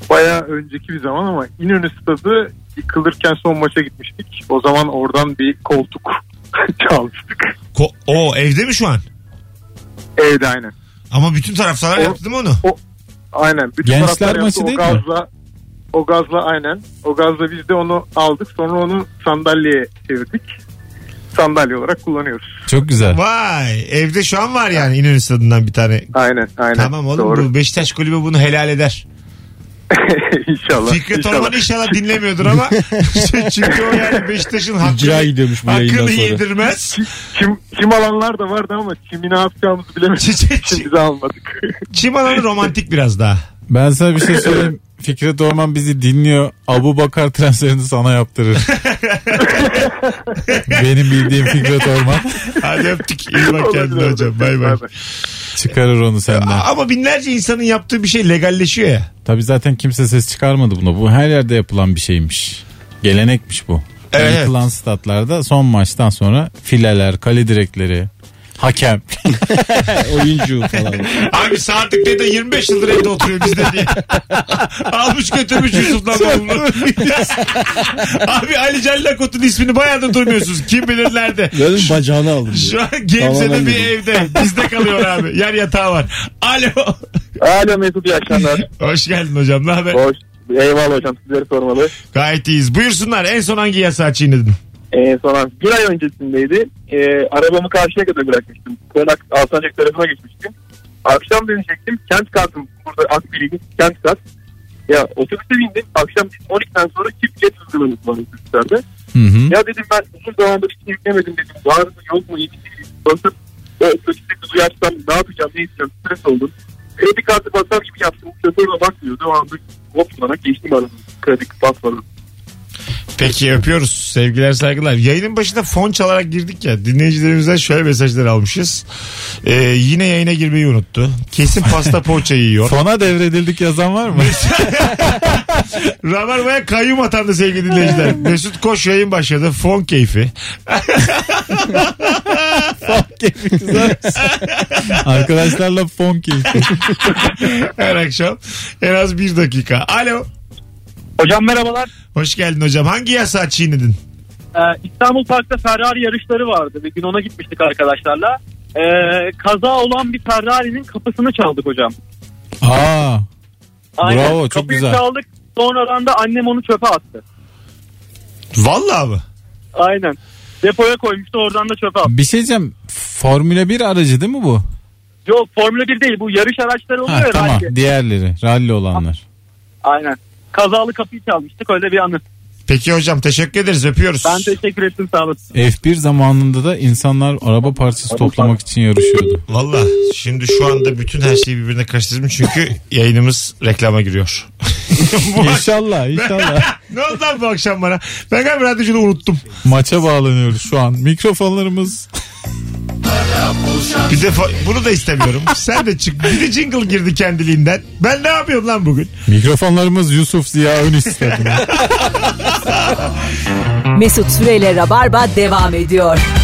Speaker 6: Baya önceki bir zaman ama İnönü Stadı yıkılırken son maça gitmiştik. O zaman oradan bir koltuk çalmıştık.
Speaker 2: Ko- o evde mi şu an?
Speaker 6: Evde aynen.
Speaker 2: Ama bütün taraftarlar
Speaker 6: O-
Speaker 2: yaptı mı onu?
Speaker 6: Aynen. Bütün
Speaker 4: Gençler
Speaker 6: taraftar yaptı.
Speaker 4: maçı
Speaker 6: o
Speaker 4: değil mi?
Speaker 6: gazla, O gazla aynen. O gazla biz de onu aldık. Sonra onu sandalyeye çevirdik. Sandalye olarak kullanıyoruz.
Speaker 4: Çok güzel.
Speaker 2: Vay evde şu an var yani İnönü Stadı'ndan bir tane.
Speaker 6: Aynen aynen.
Speaker 2: Tamam oğlum
Speaker 6: Doğru.
Speaker 2: bu Beşiktaş kulübü bunu helal eder.
Speaker 6: inşallah.
Speaker 2: Fikret Orman inşallah dinlemiyordur ama çünkü o yani Beşiktaş'ın
Speaker 3: İcra
Speaker 2: hakkını,
Speaker 3: gidiyormuş bu yayından
Speaker 2: hakkını
Speaker 3: sonra.
Speaker 2: yedirmez.
Speaker 6: Kim, kim alanlar da vardı ama kimi ne yapacağımızı bilemedik.
Speaker 2: Çi-
Speaker 6: Bizi almadık.
Speaker 2: Çim alanı romantik biraz daha.
Speaker 4: Ben sana bir şey söyleyeyim. Fikret Orman bizi dinliyor. Abu Bakar transferini sana yaptırır. Benim bildiğim Fikret Orman
Speaker 2: Hadi öptük. İyi bak kendine
Speaker 6: Olabilir,
Speaker 2: hocam. Bay
Speaker 6: olabilir.
Speaker 2: bay.
Speaker 4: çıkarır onu senden.
Speaker 2: Ama binlerce insanın yaptığı bir şey legalleşiyor ya.
Speaker 4: Tabii zaten kimse ses çıkarmadı buna. Bu her yerde yapılan bir şeymiş. Gelenekmiş bu.
Speaker 2: Evet.
Speaker 4: Yapılan statlarda son maçtan sonra fileler, kale direkleri, hakem.
Speaker 3: Oyuncu falan.
Speaker 2: Abi Sadık Bey de 25 yıldır evde oturuyor bizde diye. Almış götürmüş Yusuf'la babamı. Abi Ali Cellakot'un ismini bayağıdır duymuyorsunuz. Kim bilir nerede.
Speaker 3: Böyle bacağını aldım. diyor.
Speaker 2: Şu an Gebze'de
Speaker 3: Tamamen
Speaker 2: bir
Speaker 3: dedim.
Speaker 2: evde. Bizde kalıyor abi. Yer yatağı var. Alo.
Speaker 8: Alo Mesut iyi akşamlar.
Speaker 2: Hoş geldin hocam. Ne haber?
Speaker 8: Hoş. Eyvallah hocam sizleri sormalı.
Speaker 2: Gayet iyiyiz. Buyursunlar. En son hangi yasağı çiğnedin?
Speaker 8: Ee, sonra bir ay öncesindeydi. Ee, arabamı karşıya kadar bırakmıştım. Konak Alsancak tarafına geçmiştim. Akşam dönecektim. Kent kartım. Burada Akbil'in kent kart. Ya otobüse bindim. Akşam 12'den sonra çiftçiye hızlanırız bana otobüslerde.
Speaker 4: Hı hı.
Speaker 8: Ya dedim ben uzun zamandır hiç yüklemedim dedim. Var mı yok mu hiç değil. Basıp o otobüste kızı yaşsam ne yapacağım ne isteyeceğim stres oldum. Kredi kartı basar gibi yaptım. Şoför de bakmıyordu. O anda hop kullanarak geçtim arabayı. Kredi basmadım.
Speaker 2: Peki öpüyoruz. Sevgiler saygılar. Yayının başında fon çalarak girdik ya. Dinleyicilerimizden şöyle mesajlar almışız. Ee, yine yayına girmeyi unuttu. Kesin pasta poğaça yiyor.
Speaker 4: Fona devredildik yazan var mı?
Speaker 2: Rabarba'ya kayyum atandı sevgili dinleyiciler. Mesut Koş yayın başladı. Fon keyfi.
Speaker 4: Arkadaşlarla fon keyfi.
Speaker 2: Her akşam en az bir dakika. Alo.
Speaker 8: Hocam merhabalar.
Speaker 2: Hoş geldin hocam. Hangi yasağı çiğnedin?
Speaker 8: Ee, İstanbul Park'ta Ferrari yarışları vardı. Bir gün ona gitmiştik arkadaşlarla. Ee, kaza olan bir Ferrari'nin kapısını çaldık hocam.
Speaker 4: Aa, Bravo, çok
Speaker 8: Kapıyı
Speaker 4: güzel.
Speaker 8: çaldık. Sonradan da annem onu çöpe attı.
Speaker 2: Vallahi mı?
Speaker 8: Aynen. Depoya koymuştu oradan da çöpe attı.
Speaker 4: bir şey diyeceğim. Formula 1 aracı değil mi bu?
Speaker 8: Yok Formula 1 değil bu yarış araçları oluyor
Speaker 4: Ha,
Speaker 8: ya
Speaker 4: tamam.
Speaker 8: rally.
Speaker 4: Diğerleri. Ralli olanlar.
Speaker 8: Aynen. Kazalı kapıyı çalmıştık öyle bir anı.
Speaker 2: Peki hocam teşekkür ederiz. Öpüyoruz.
Speaker 8: Ben teşekkür ettim sağ olasın.
Speaker 4: F1 zamanında da insanlar araba parçası toplamak için yarışıyordu.
Speaker 2: Valla şimdi şu anda bütün her şeyi birbirine karıştırdım çünkü yayınımız reklama giriyor. Bu ak-
Speaker 4: inşallah inşallah.
Speaker 2: ne oldu lan bu akşam bana? Ben galiba radyocunu unuttum.
Speaker 4: Maça bağlanıyoruz şu an. Mikrofonlarımız
Speaker 2: Bir defa bunu da istemiyorum. Sen de çık. Bir de jingle girdi kendiliğinden. Ben ne yapıyorum lan bugün?
Speaker 4: mikrofonlarımız Yusuf Ziya Ön
Speaker 1: Mesut Süreyle Rabarba devam ediyor.